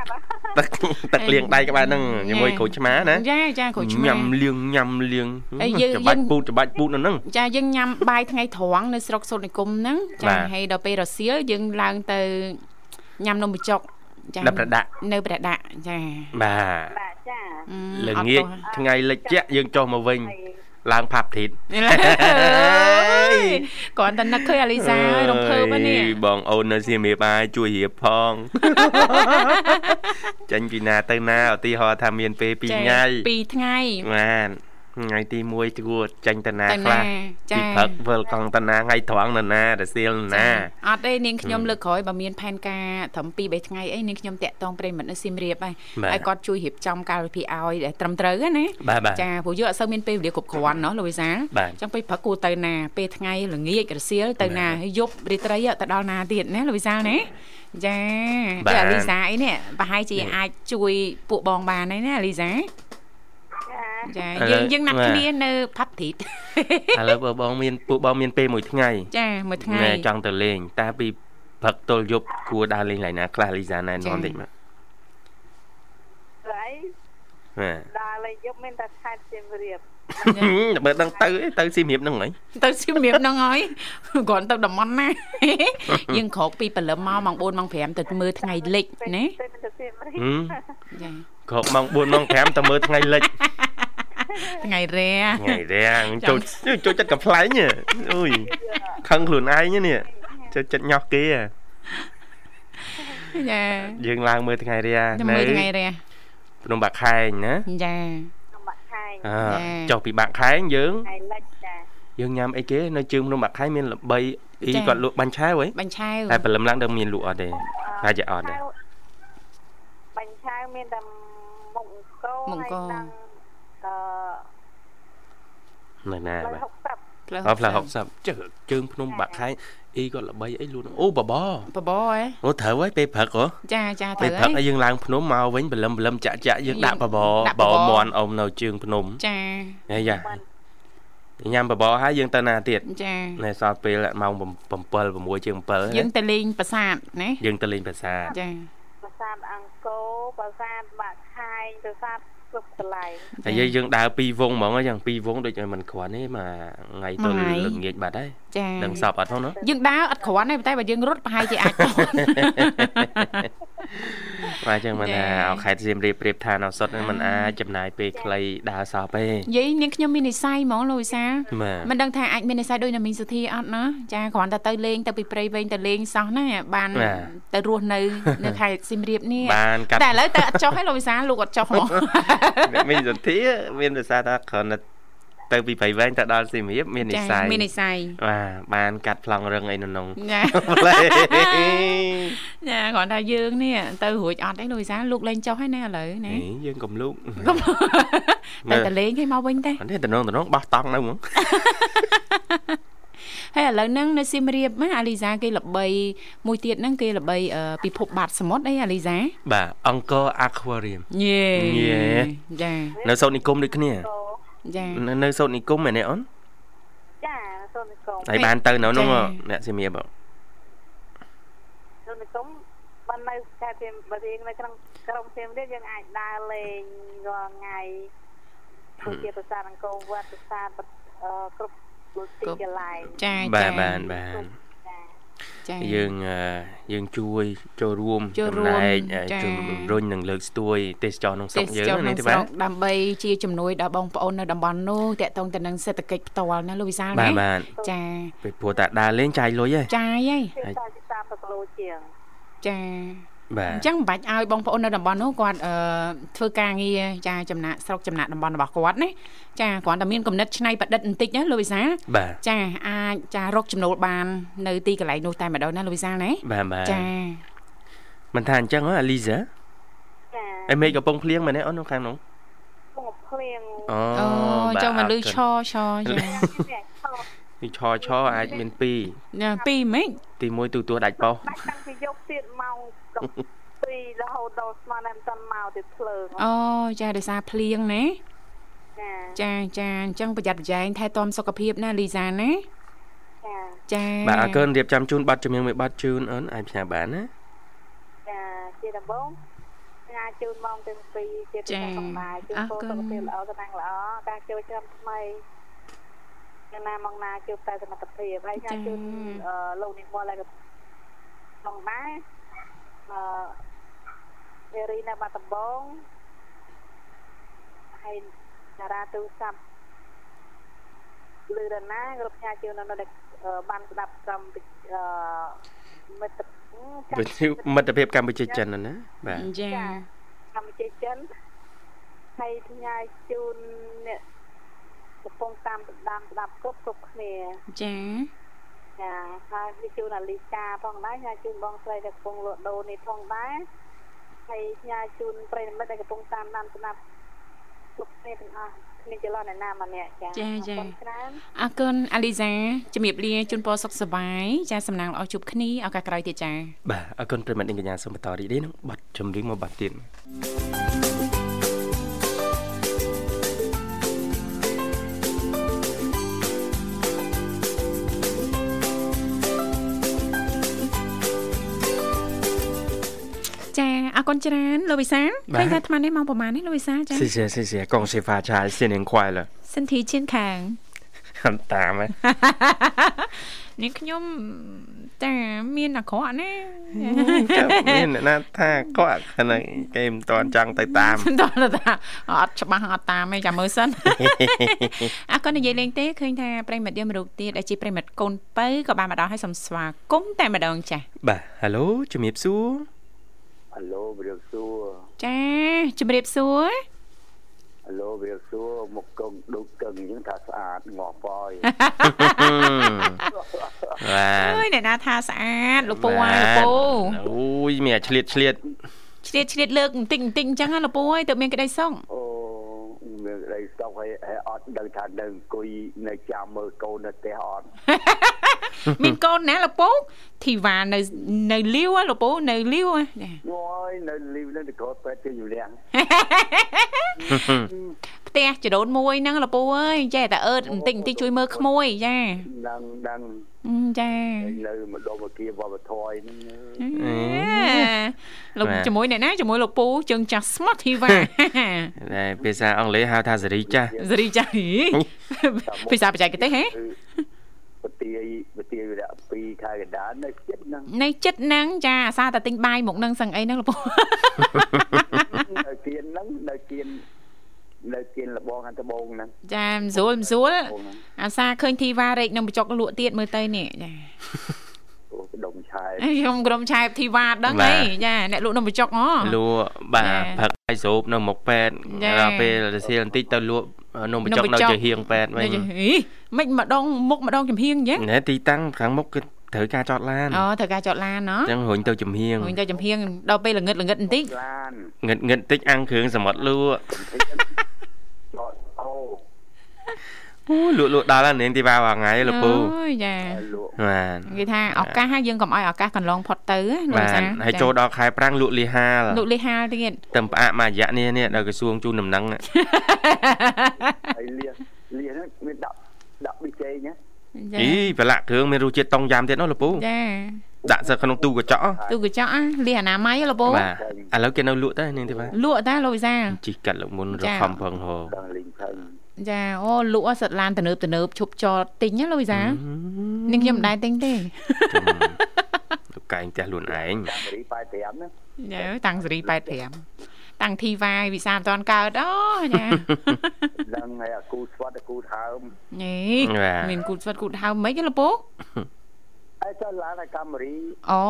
S2: ទឹកទឹកលាងដៃក្បែរហ្នឹងជាមួយក្រូចឆ្មាណា
S3: ចាចាគ្រូឆ្មា
S2: ញ៉ាំលាងញ៉ាំលាង
S3: ហើយយើង
S2: ច្របាច់
S3: យើង
S2: ពូតច្របាច់ពូតនៅហ្នឹង
S3: ចាយើងញ៉ាំបាយថ្ងៃត្រង់នៅស្រុកសុននិគមហ្នឹង
S2: បា
S3: ចា
S2: ទ
S3: ហើយដល់ពេលរសៀលយើងឡើងទៅញ៉ាំនំបញ្ចុក
S2: នៅប្រដាក់
S3: នៅប្រដាក់ចា
S2: បាទ
S5: បាទចា
S3: អឺអត់
S2: ល្ងា ច
S3: ទោះ
S2: ថ្ងៃលិចជក់យើងចុះមកវិញឡើងផាប់ធីត យ
S3: គ្រាន់តែនឹកឃើញអាលីសាហើយរំភើបហ្នឹងនេះ
S2: អើយបងអូននៅសៀមរាបហើយជួយរៀបផង ចាញ់ពីណាទៅណាឧទាហរណ៍ថាមានពេល2ថ្ងៃ
S3: ពីរថ្ងៃ
S2: បានថ្ងៃទី1គួរចាញ់តាណា
S3: តែ
S2: ខ្លះ
S3: ណា
S2: ពី
S3: ចា
S2: ព្រឹកវិលកង់តាណាថ្ងៃត្រង់ណាណារសៀលណា
S3: អត់ទេនាងខ្ញុំលើកក្រោយបើមានផែនការត្រឹម2 3ថ្ងៃអីនាងខ្ញុំតាក់ទងប្រិយមិត្តនៅសៀមរាបហើយ
S2: បាទ
S3: ហើយគាត់ជួយរៀបចំកាលវិភាគឲ្យដែលត្រឹមត្រូវហ្នឹងណា
S2: បាទបាទ
S3: ចាព្រោះយើងអត់សូវមានពេលវេលាគ្រប់គ្រាន់ណោះលោកវិសាល
S2: បាទ
S3: ចឹងពេលព្រឹកគួរទៅណាពេលថ្ងៃល្ងាចរសៀលទៅណាហើយយប់រាត្រីអត់ទៅដល់ណាទៀតណាលោកវិសាលណាចា
S2: បាទ
S3: អាលីសាអីនេះប្រហែលជាអាចជួយពួកបងបានហើយណាអាលីសា
S5: ចា
S3: ចា
S2: ឥឡូវ
S3: យើងយើងណាត់
S2: បាទ
S3: គ្នានៅ pub treat
S2: ឥឡូវបើបងមានពួកបងមានពេលមួយថ្ងៃ
S3: ចាមួយថ្ងៃ
S2: ណែចង់ទៅលេងតែពីព្រឹកទល់យប់គួរដើរលេងឡើយណាខ្លះលីសាណែ
S3: ចា៎
S2: នាំតិចមក
S5: ស្អី
S2: ណា
S5: ដល់លេងយកមានតែខេតសៀមរាប
S2: បើដឹងទៅឯងទៅសៀមរាបហ្នឹងហី
S3: ទៅសៀមរាបហ្នឹងហើយ គ្រាន់ទៅតំន់ណា យើងក្រោកពីព្រលឹមមកម៉ោ ង4ម៉ោង5ទៅមើលថ្ងៃលិចណា
S5: ទៅទៅសៀមរាប
S2: ហឹម
S3: ចា
S2: ក្រោកម៉ោង4ម៉ោង5ទៅមើលថ្ងៃលិច
S3: ថ្ងៃរះ
S2: ថ្ងៃរាំងចូលចូលចិត្តកំ pl ែងហ៎អូយខឹងខ្លួនឯងហ៎នេះចូលចិត្តញោះគេហ៎
S3: ចា
S2: យើងឡើងមើលថ្ងៃរា
S3: ទៅមើលថ្ងៃរះ
S2: ភ្នំបាក់ខែងណា
S3: ចា
S5: ក្នុងបាក់ខែង
S2: អើចុះពីបាក់ខែងយើង
S5: ថ្ងៃលិចចា
S2: យើងញ៉ាំអីគេនៅជើងភ្នំបាក់ខែងមានល្បីអីគាត់លក់បាញ់ឆាវហ៎
S3: បាញ់ឆាវ
S2: តែព្រលឹមឡើងដឹងមានលក់អត់ទេតែជាអត់ទេ
S5: បាញ់ឆាវមានតែមុខអង្គរហើយនឹងអ
S2: នៅណា
S5: ឺ
S2: បាទ
S5: ហុកប្រាប់
S2: អស់ផ្លូវ60ជើងជើងភ្នំបាក់ខែងអីគាត់ល្បីអីលក់អូបបោ
S3: បបអេ
S2: អូត្រូវហើយពេលព្រឹកហ៎
S3: ចាចា
S2: ពេល
S3: ត្រូវ
S2: ព្រឹក
S3: ហើយ
S2: ឲ្យយើងឡើងភ្នំមកវិញព្រលឹមព្រលឹមចាក់ចាក់យើងដាក់បបរ
S3: ដាក់
S2: ប
S3: ប
S2: របម
S3: រ
S2: ន់អមនៅជើងភ្នំ
S3: ចា
S2: អាយ៉ាញ៉ាំបបរហើយយើងទៅណាទៀត
S3: ចា
S2: នៅសល់ពេលម៉ោង7 6ជាង7
S3: យើងទៅលេងប្រាសាទណា
S2: យើងទៅលេងប្រាសាទ
S3: ចា
S5: ប្រាសាទអង្គរប្រាសាទបាក់ខែងប្រាសាទគ្រប់កន្លែង
S2: ហើយយើងយើងដើរពីរវងហ្មងហើយយ៉ាងពីរវងដូចឲ្យมันគ្រាន់ទេមកថ្ងៃទៅលងាចបាត់ហើយ
S3: ចា
S2: ដឹងសពអត់ផងណា
S3: យើងដើរអត់គ្រាន់ទេតែបើយើងរត់ប្រហែលជាអាចដល់
S2: បាទចឹងមិន
S3: ចា៎
S2: ថាឲ្យខេតសៀមរាបប្រៀបថានៅសុតហ្នឹងมันអាចចំណាយពេលខ្លីដើរសពទេ
S3: និយាយនាងខ្ញុំមាននិស្ស័យហ្មងលោកវិសាល
S2: បាទ
S3: មិនដឹងថាអាចមាននិស្ស័យដូចនៅមីងសុធាអត់ណាចាគ្រាន់តែទៅលេងទៅពីព្រៃវែងទៅលេងសោះណាបាន
S2: បាទ
S3: ទៅរស់នៅនៅខេត្តសៀមរាបនេះ
S2: បានកាត់
S3: តែឥឡូវទៅអត់ចុះហើយលោកវិសាលលោកអត់ចុះហ្មង
S2: អ្នក មានសទ្ធាមានភាសាថាគ្រាន់តែទៅពីប្រៃវែងទៅដល់សៀមរាបមាននិស្ស័យ
S3: មាននិស្ស័យ
S2: បាទបានកាត់ប្លង់រឹងអីនៅ ក្នុង
S3: ចា
S2: ផ្លែ
S3: ចាគ្រាន់តែយើងនេះទៅរួចអត់ទេលោកវិសាលលោកលេងចុះហើយណាឥឡូវណា
S2: នេះយើងកំលូក
S3: តែទៅលេងឲ្យមកវិញទេ
S2: អត់ទេតំណងតំណងបោះតង់នៅហ្មង
S3: ហើយឥឡូវហ្នឹងនៅសៀមរាបណាអាលីសាគេល្បីមួយទៀតហ្នឹងគេល្បីអឺពិភពបាតសមុទ្រអីអាលីសា
S2: បាទអង្គរ Aquarium
S3: យេ
S2: យេ
S3: ចា
S2: នៅសោតនិគមដូចគ្នា
S5: អូ
S3: ចា
S2: នៅនៅសោតនិគមមែនទេអូន
S5: ចាសូននិគម
S2: ហើយបានទៅនៅហ្នឹង
S3: ចា៎
S2: អ្នកសៀមរាបបង
S5: សូននិគមបាននៅខេត្តសៀមរាបនៅក្នុងក្រុងសៀមរាបយើងអាចដើរលេងរាល់ថ្ងៃដូចជាប្រាសាទអង្គរវត្តប្រាសាទអឺគ្រប់គ្រប់ទីកន្លែង
S3: ចា
S2: បាទ
S3: ចា
S2: បានបាន
S5: ចា
S3: ចា
S2: យើងអឺយើងជួយចូលរួម
S3: ចូលរួម
S2: អឺ
S3: ចា៎
S2: ជួយជំរុញនិងលើកស្ទួយទេសចរណ៍ក្នុងស្រុ
S3: ទេស
S2: កយើង
S3: ចរណ៍
S2: ណា
S3: ក្នុង
S2: ទេបាទ
S3: ស្រុកដើម្បីជាជំនួយដល់បងប្អូននៅតំបន់នោះតាក់ទងទៅនឹងសេដ្ឋកិច្ចផ្ទាល់ណាលោកវិសាល
S2: បាទ
S3: ណា
S2: បាទ
S3: ចា
S2: ពីព្រោះតែដើរលេងចាយលុយហ៎
S3: ចាយហើយ
S5: គឺតែ30គីឡូជាង
S3: ចា
S2: បាទ
S3: អញ្ចឹងមិនបាច់ឲ្យបងប្អូននៅតំបន់នោះគាត់អឺធ្វើការងារចាចំណាក់ស្រុកចំណាក់តំបន់របស់គាត់ណាចាគ្រាន់តែមានគំនិតឆ្នៃប្រឌិតបន្តិចណាលោកវិសាល
S2: បាទ
S3: ចាអាចចារកចំណូលបាននៅទីកន្លែងនោះតែម្ដងណាលោកវិសាលណា
S2: បាទបាទ
S3: ចា
S2: មិនថាអញ្ចឹងហ៎អាលីសា
S5: ចា
S2: អីមេឃកំពុងភ្លៀងមែនទេអូននៅខាងនោះ
S5: មកភ្លៀង
S2: អូបា
S3: អូ
S2: ទ
S3: ចូលមកលឺ
S2: អរគុណ
S3: ឆឆចា
S5: វាខោ
S2: លឺឆឆអាចមាន
S3: ណាពីរហ្មេច
S2: 2ទី1ទូទួដាច់បោស
S5: បាច់តាំងពីយប់ទៀតម៉ោង7រហូតដល់ស្មានតែមិនទាន់មកទៀតភ្លើង
S3: អូចាដោយសារភ្លៀងណា
S5: ចា
S3: ចាចាអញ្ចឹងប្រយ័ត្នប្រយែងថែទាំសុខភាពណាលីសាណា
S5: ចា
S3: ចា
S2: បាទអរគុណរៀបចំជូនប័ណ្ណជំនៀងមួយប័ណ្ណជូនអូនអាចផ្សាយបានណា
S5: ចាជាដំបងណាជូនម៉ោងទាំងពីរជាទីសំបាយជូនពរសុខភាពល្អតំណាងល្អការជួយចាំថ្មីយ៉ាងណាមកណាជួបតែសមត្ថភាពហើយណាជូនលោកនិមលហើយក៏ផងដែរអឺរីនៅបាត់ដំបងហើយតារាទូរស័ព្ទលើរណាគ្រប់ផ្សាយជូននៅនៅបានស្ដាប់ក្រុមអឺមិត្ត
S2: វិទ្យុមិត្តភាពកម្ពុជាចិនហ្នឹងណាបាទ
S3: ចា
S5: ចា កម្ពុជាចិនហើយផ្ញើជូនអ្នកកំពុងតាមបណ្ដាំស្ដាប់គ្រប់គ្រប់គ្នា
S3: ចា
S5: ចាហើយវាជូនអាលីកាផងដែរផ្ញើជូនបងស្រីដែលកំពុងលក់ដូរនេះផងដែរហើយផ្ញើជូនប្រិយមិត្តដែលកំពុងតាមដានស្ដាប់គ្រប់គ្នាទាំងអស់គ្មានចន្លោះអ្នកណាម្នាក់ចាអរគុណច្រើន
S3: អរគុណអាលីសាជំរាបលាជូនពរសុខសប្បាយចាសំណាងល្អជួបគ្នាឱកាសក្រោយទៀតចា
S2: បាទអរគុណប្រិមត្តនាងកញ្ញាសូមបន្តរីករាយនឹងប័ណ្ណជំនៀងមួយប័ណ្ណទៀត
S3: ចាអរគុណច្រើនលោកវិសាល
S2: បាទ
S3: ឃើញថាអាត្មានេះម៉ោងប្រហែលនេះលោកវិសាលចា
S2: 谢谢谢谢，恭喜发财，新年快乐！
S3: សិនធីជៀនខាង
S2: 很大 吗？
S3: នេះខ្ញុំចាមានអាក្រក់ណា
S2: មានអ្នកណាថាគាត់ហ្នឹងគេមិនតន់ចង់ទៅតាម
S3: តោះតាអត់ច្បាស់អត់តាមឯងចាំមើលសិន អរគុណនិយាយលេងទេឃើញថាប្រិមិត្តយើងមករកទៀតដែលជាប្រិមិត្តកូនពៅក៏បានមកដល់ហើយសំស្វាគមន៍តែម្ដងចាស់
S2: បាទ Halo ជំរាបសួរ
S6: អាឡូវាសួរ
S3: ចាជំរាបសួរ
S6: អាឡូវាសួរមកកងដូចកឹងអញ្ចឹងថាស្អាតងាប់ហើយ
S2: បា
S3: អើយ
S2: ទ
S3: អ្នកណាថាស្អាតលោកពូអើយលោកពូ
S2: អូយមានអាឆ្លៀតឆ្លៀត
S3: ឆ្លៀតឆ្លៀតលើកបន្តិចបន្តិចអញ្ចឹងណាលោកពូអើយទើបមានក្តីសុខ
S6: អូមានក្តីសោកហើយហើយអត់ដឹងថានៅអង្គុយនៅចាំមើលកូននៅផ្ទះអត់
S3: មានកូនណាលកពូធីវ៉ានៅនៅលាវហ៎លកពូនៅលាវហ៎ចា
S6: អូយនៅលីវនឹងទៅគាត់ពេទ្យគេយូរលាំង
S3: ផ្ទះចរូនមួយហ្នឹងលកពូអើយចេះតែអឺតបន្តិចបន្តិចជួយមើលក្មួយចា
S6: ដឹងដឹង
S3: អឺចា
S6: នៅម្ដុំអគារវប្បធម៌ហ្នឹង
S3: លោកជាមួយអ្នកណាជាមួយលកពូជើងចាស់ស្មោះធី វ៉ា
S2: តែភាសាអង់គ្លេសហៅថាសេរីចាស់
S3: សេរីចាស់ហី ភាសាបច្ចេកទេសហ៎
S6: គឺបទាយបទាយវរៈ2ខែកណ្ដាលនៅចិត្តហ្នឹង
S3: នៅចិត្តហ្នឹងចាអាសាតែទិញបាយមកហ្នឹងសឹងអីហ្នឹងលកពូ
S6: នៅគៀនហ្នឹងនៅគៀននៅគៀនលបងខាងត្បូងហ្នឹង
S3: ចាមិនស្រួលមិនស្រួល
S6: ត្បូងហ្នឹង
S3: អាសាឃើញធីវ៉ារែកនឹងបញ្ចុកលក់ទៀតមើលទៅនេះចា
S6: អូដុំឆែក
S3: ខ្ញុំក្រុមឆែបធីវ៉ាដឹងហីចាអ្នកលក់នំបញ្ចុកហ៎
S2: លក់បា
S3: ចា
S2: ទផឹកហើយស្រូបនៅមុខពេទ្យ
S3: ចា
S2: ដល់ពេលរសៀលបន្តិចទៅលក់នំបញ្ចុក
S3: នំប
S2: នៅ
S3: ញ្ចុក
S2: ជាហៀងពេទ្យវិញ
S3: នេះហីមិនម្ដងមុខម្ដងចំហៀងអញ្ចឹង
S2: ណែទីតាំងខាងមុខគឺត្រូវការចតឡាន
S3: អូត្រូវការចតឡានណ
S2: អញ្ចឹងរុញទៅចំហៀង
S3: ៎វិញទៅចំហៀងដល់ពេលល្ងឹតល្ងឹតបន្តិច
S6: ឡាន
S2: ងឹតងឹតតិចអាំងគ្រឿងសមុទ្រលក់
S6: ចតអូ
S2: អូលក់លក់ដល់ហើយនាងទីវ៉ាវថ្ងៃលកពូ
S3: អូយចា
S6: លក់
S2: បាន
S3: គេថាឱកាសហ่าយើងកុំឲ្យឱកាសកន្លងផុតទៅណា
S2: បានហើយចូលដល់ខែប្រាំងលក់លីហាល
S3: លោកលេហាលទៀត
S2: តែផ្អាកមួយរយៈនេះនេះដល់ក្រសួងជូនដំណឹង
S6: ហើយលៀសលៀសហ្នឹងមានដាក់ដាក់ប៊ីចេងណា
S3: ចា
S2: អីប្រឡាក់គ្រឿងមានរសជាតិតុងយ៉ាំទៀតនោះលកពូ
S3: ចា
S2: ដាក់សិក្នុងទូកញ្ចក់
S3: ទូកញ្ចក់អាលះអនាម័យលោកពូ
S2: បាទឥឡូវគេនៅលក់ដែរនាងទីវ៉ា
S3: លក់តាលោកវិសាល
S2: ជីកកាត់លោកមុនរ
S3: ចា
S2: កខំផងហោ
S6: ដល់លីងផឹង
S3: ចាអូលក់សិតឡានទំនើបទំនើបឈប់ចតទិញណាលោកវិសាលនេះខ្ញុំមិនដែរទិញទេ
S2: លោកកែងផ្ទះខ្លួនឯង
S6: អាមេរី85ហ្នឹង
S3: ញ៉ៅតាំងសេរី85តាំងធីវ៉ាវិសាមិនតាន់កើតអូញ៉ា
S6: ដឹងហើយអាគូស្វាត់អាគូហើម
S3: ញ៉េមានគូតស្វិតគូតហៅមិនទេលកពូ
S6: ហើយចតឡានអាកាមេរី
S3: អូ
S6: មើ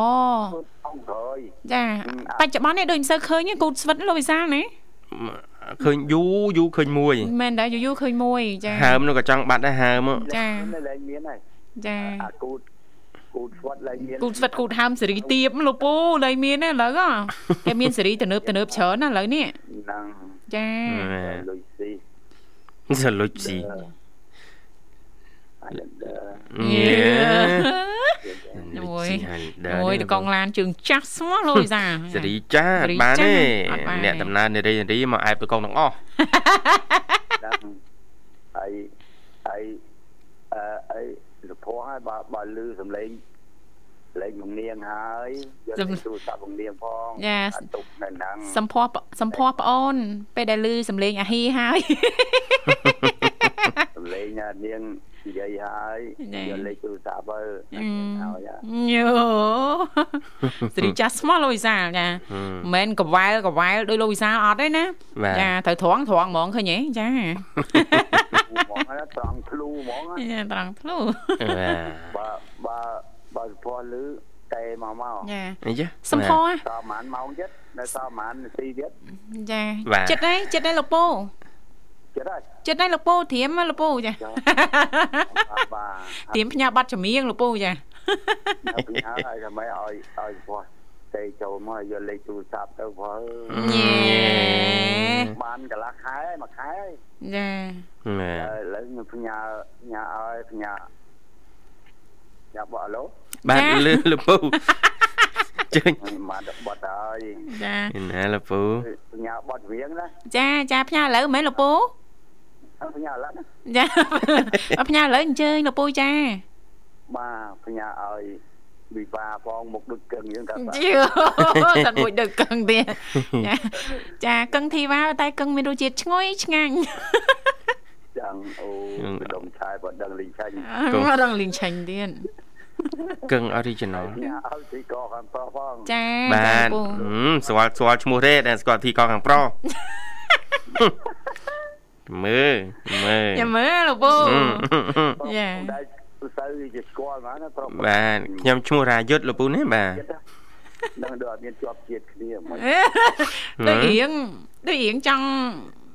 S6: លអង្គក្រោយ
S3: ចាបច្ចុប្បន្ននេះដូចមិនសូវឃើញទេគូតស្វិតលោកវិសាលណា
S2: ឃើញយូរយូរឃើញមួយ
S3: មែនដែរយូរយូរឃើញមួយចា
S2: ហើមនោះក៏ចង់បាត់ដែរហើម
S3: ចា
S6: នៅលែងមានហើយ
S3: ចា
S6: អាគូ គូតស្វិតឡើងមាន
S3: គូស្វិតគូហើមសេរីទៀបលោកពូឡើយមានណាឥឡូវហ៎ គេមានសេរីទំនើបទំនើបច្រើនណាឥឡូវនេះ
S6: ហ្នឹង
S3: ចា
S6: លុយស៊ី
S2: សលុចស៊ី
S6: អាយ៉ាដឺ
S2: ញ៉ា
S3: អូ
S2: លុច
S3: យ
S2: ស៊ី
S3: អូយតកងឡានជើងចាស់ស្មោះ លោកវិសា
S2: សេរីចា
S3: សេរី
S2: បាន
S3: ចា
S2: ទេ
S3: អត់បានទេ
S2: អ្នកដំណើរនារីនារីមកអែបតកងទាំងអស់
S6: ហ្នឹងហើយហើយអឺអីលពរហើយបើបើលឺសំឡេងលេងងនាងហើយយកលេខទូរស័ព្ទងនាងផង
S3: យ៉ា
S6: អត់ទុកនៅហ្នឹង
S3: សំភ័ពសំភ័ពប្អូន ពេលដែលឮសំឡេងអាហ៊ីហើយ
S6: សំឡេងណានាងនិយាយហើយ
S3: ណែ
S6: យកលេខទូរស័ព្ទទៅហើយ
S3: ញ៉ូ សេរីចាស់ស្មោះលោកវិសាចា
S2: ហឹម
S3: មិនមែនកវ៉ែលកវ៉ែលដោយលោកវិសាអត់ទេណា
S2: បាទ
S3: ចាត្រូវត្រង់ត្រង់ហ្មងឃើញទេចា
S6: ធ្លូហ្មងណាត្រង់ធ្លូហ្មងណា
S3: ចាត្រង់ធ្លូ
S2: បាទ
S6: បើបើបើសុផលឬតែមកមក
S3: ចា
S2: អីចា
S3: សំភ័ព
S6: តប្រហែលម៉ោងទៀតនៅតប្រហែលនាទីទៀត
S3: ចា
S2: បាទ
S3: ចិត្តហើយចិត្តហើយលោកពូ
S6: ចិត្តហើយ
S3: ចិត្តហើយលោកពូធៀមហើយលោកពូចា
S6: ចុះបាទបាទ
S3: ធៀមផ្ញើប័ណ្ណចម្រៀងលោកពូចា
S6: នៅពីហើយឲ្យតែមិនឲ្យឲ្យសុផលតែចូលមកយកលេខទូរស័ព្ទទៅព្រោះ
S3: ញ៉ែ
S6: បានកន្លះខែមួយខែហើយ
S3: ចា
S2: បាទ
S6: ឥឡូវខ្ញុំផ្ញើផ្ញើឲ្យផ្ញើញ៉ាំបោះឡូ
S2: បាទលឺ លពូជើញ
S6: បានដល់បត់ហើយ
S3: ចា
S2: ណាលពូ
S6: ផ្ញើបត់វៀងណា
S3: ចាចាផ្ញើឥឡូវមែនលោកពូ
S6: ផ្ញើឡើង
S3: ចា មកផ្ញើឥឡូវអញ្ជើញលោកពូចា
S6: បាទផ្ញើឲ្យវិវាផងមកដូចកឹងយើងថាបាទ
S3: យូ សត្វមួយដឹកកឹងទៀតចាចាកឹងធីវ៉ាតែកឹងមានរសជាតិឈ្ងុយឆ្ងាញ់
S6: ចាំងអូម្ដុំឆាយបើដឹងលីឆាញ់
S3: ម ករងលីងឆាញ់ទៀត
S2: កឹង original
S6: ញ៉ាឲ្យទីកខាងប្រុសផង
S3: ចា
S2: បា
S3: ចា
S2: ទ
S3: លោកពូ
S2: ហឹមស្គាល់ស្គាល់ឈ្មោះទេដែលស្គាល់ទីកខាងប្រុ សមើលមើល
S3: ចាំមើលលោកពូ
S2: ហឹម
S3: យ៉ា
S6: តែទៅជាស្គាល់មកណាប្រុស
S2: បាទខ្ញុំឈ្មោះរាយុទ្ធលពូណាបាទ
S6: ដឹងដល់អត់មានជាប់ជាតិគ្នាមិន
S3: អេ ដូចរៀងដូចរៀងចង់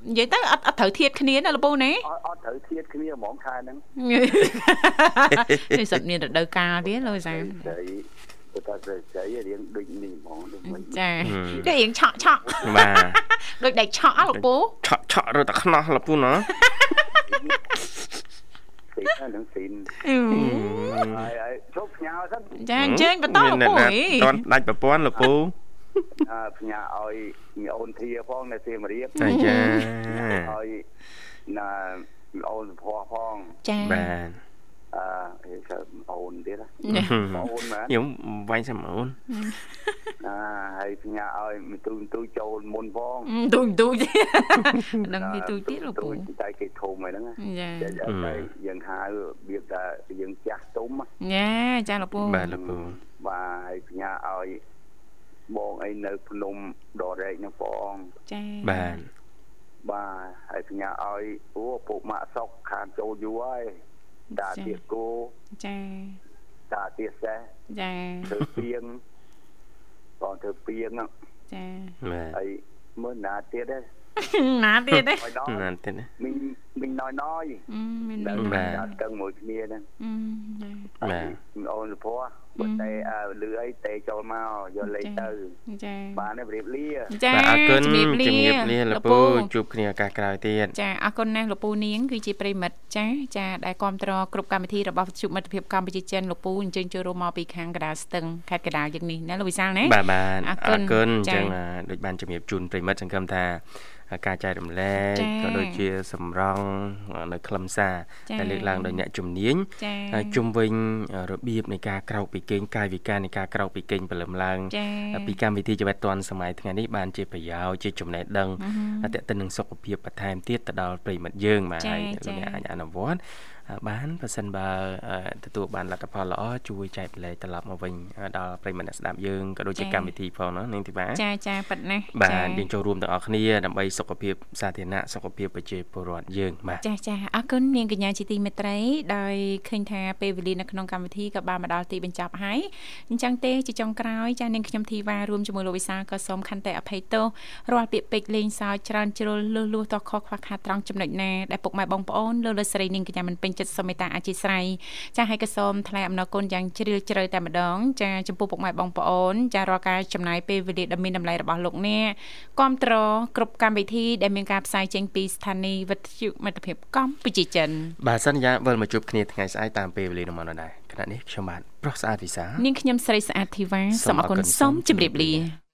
S3: និយាយទៅអត់អត់ត្រូវធៀបគ្នាណាលកពូណា
S6: អត់អត់ត្រូវជាតិគ្នាហ្មងខែហ្នឹង
S3: នេះសត្វមានរដូវកាលទៀតលោកសាម
S6: ស្រីបើតាស្រីស្រីរៀងដូចនេះហ្មងដូចមិន
S3: ចា
S2: ហឹម
S3: ដូចរៀងឆក់ឆក់
S2: បាទ
S3: ដូចដែកឆក់ណាលកពូ
S2: ឆក់ឆក់រត់តែខ្នោះលពូណា
S6: ស្រីណាហ្នឹងស្រីហើយហើយជប់ផ្ញើសិន
S3: ចាអញ្ជើញបន្តលកពូអី
S2: អត់ដាច់ប្រព័ន្ធលពូ
S6: អើផ្ញើឲ្យមីអូនធាផងនៅសៀមរាប
S2: ចាចា
S6: ឲ្យណាមីអូនសុភ័ក្រផង
S3: ចា
S2: បាទ
S6: អឺគេមីអូនទៀតណា
S3: ចា
S6: បងអូនមែន
S2: ខ្ញុំវាញ់សាមអូន
S6: ណាហើយផ្ញើឲ្យមន្ទូមន្ទូចូលមុនផង
S3: អឺទូចទូចនឹងទីទូចទៀតលកពូ
S6: មន្ទូចតែគេធំហ្នឹងណា
S3: ចា
S6: តែតែយើងហៅវាថាយើងចាស់ទុំណា
S3: ចាចាលកពូ
S2: បាទលពូ
S6: បាទហើយផ្ញើឲ្យបងអីនៅភ្នំដរែកហ្នឹងផង
S3: ចា
S2: បាទ
S6: បាទហើយផ្ញើឲ្យអូពុកម៉ាក់សុកខានចូលយូរហើយតាទៀកគោ
S3: ចា
S6: តាទៀសេះ
S3: ចា
S6: ធ្វើពីងបងធ្វើពីងហ្នឹង
S3: ចា
S2: បាទ
S6: ហើយមើលណាទៀតទេ
S3: ណាទៀតទេ
S6: ហើយដល់
S2: ណានទៀតណា
S6: មីងមីងណយណយៗ
S3: អឺមាន
S6: ដល់
S2: បា
S6: តែ
S2: ទ
S6: ដល់ទាំងមួយគ្នាហ្នឹង
S3: អឺចា
S2: បាទ
S6: បងអូនសុភ័ក្របើតែអើលឺអីតែចូលមកយកលេខទៅ
S3: ចា
S6: បានទេរៀបលា
S3: ចា
S2: បាទអរគុណ
S3: ជំរាបលា
S2: ជំរាបលាលពូជួបគ្នាឱកាសក្រោយទៀត
S3: ចាអរគុណណាស់លោកពូនាងគឺជាប្រិមិត្តចាចាដែលគ្រប់គ្រងគ្រប់កម្មវិធីរបស់វិទ្យុមិត្តភាពកម្ពុជាចិនលោកពូអញ្ជើញចូលរួមមកពីខាងកណ្ដាលស្ទឹងខេត្តកណ្ដាលយើងនេះណាលោកវិសាលណា
S2: បាទបាទ
S3: អរគុ
S2: អ
S3: ណ
S2: រគុណអ
S3: ចា៎
S2: ញ្ចឹងអាដូចបានជំរាបជូនប្រិមិត្តសង្ឃឹមថាអាការចែករំលែក
S3: ចា៎
S2: ក៏ដូចជាសម្រង់នៅខ្លឹមសារ
S3: ចា៎
S2: ដែលលើកឡើងដោយអ្នកជំនាញ
S3: ចា៎
S2: ហើយជំវិញរបៀបនៃការក្រោកពីគេងកាយវិការនៃការក្រោកពីគេងព្រលឹមឡើង
S3: ចា៎
S2: ពីកម្មវិធីជីវិតឌွန်សម័យថ្ងៃនេះបានជាប្រយោជន៍ជាចំណេះដឹងអតិទៅនឹងសុខភាពបន្ថែមទៀតទៅដល់ប្រិមិត្តយើងបាទ
S3: ចា៎
S2: ហើយលោក
S3: ចា៎
S2: អ្នកអាចអនុវត្តអ่าបានប៉ះសិនបើអ่าទទួលបានលទ្ធផលល្អជួយចែកប្លែកត្រឡប់មកវិញអ่าដល់ប្រិយមិត្តអ្នកស្ដាប់យើងក៏ដូចជា
S3: ចា៎
S2: កម្មវិធីផងណានាងធីបា
S3: ចាចាប៉ិតណាស់
S2: បាទយើងចូលរួមទាំងអស់គ្នាដើម្បីសុខភាពសាធារណៈសុខភាពប្រជាពលរដ្ឋយើងបាទ
S3: ចាចាអរគុណនាងកញ្ញាជាទីមេត្រីដោយឃើញថាពេលវេលានៅក្នុងកម្មវិធីក៏បានមកដល់ទីបញ្ចប់ហើយអញ្ចឹងទេជាចុងក្រោយចានាងខ្ញុំធីវ៉ារួមជាមួយលោកវិសាលក៏សូមខន្តីអភ័យទោសរាល់ពាក្យពេចន៍លេងសើចច្រើនជ្រុលលឺលួសតោះខុសខ្វះខាតត្រង់ចំណុចណាដែលពុកម៉ែបងប្អូនលោកលោកស្រីនាងកញ្ញាមិនពេញ
S1: ចិត្តសូមមេត្តាអធិស្ឋានចាហើយក៏សូមថ្លែងអំណរគុណយ៉ាងជ្រាលជ្រៅតែម្ដងចាចំពោះពុកម៉ែបងប្អូនចារាល់ការចំណាយពេលវេលាដ៏មានតម្លៃរបស់លោកអ្នកគ្រប់តរគ្រប់កម្មវិធីដែលមានការផ្សាយចេញពីស្ថានីយ៍វិទ្យុមិត្តភាពកម្ពុជាចិន
S2: បាទសន្យាវិលមកជួបគ្នាថ្ងៃស្អែកតាមពេលវេលានោះដែរខណៈនេះខ្ញុំបាទប្រុសស្អាតវិសា
S1: នាងខ្ញុំស្រីស្អាតធីវ៉ា
S2: សូ
S1: សូ
S2: ម
S1: ម
S2: អ
S1: អរ
S2: រគុ
S1: គុ
S2: ណ
S1: ណ
S2: សូ
S1: សូ
S2: ម
S1: ម
S2: ជម្រា
S1: ជម្រា
S2: ប
S1: ប
S2: លា
S1: លា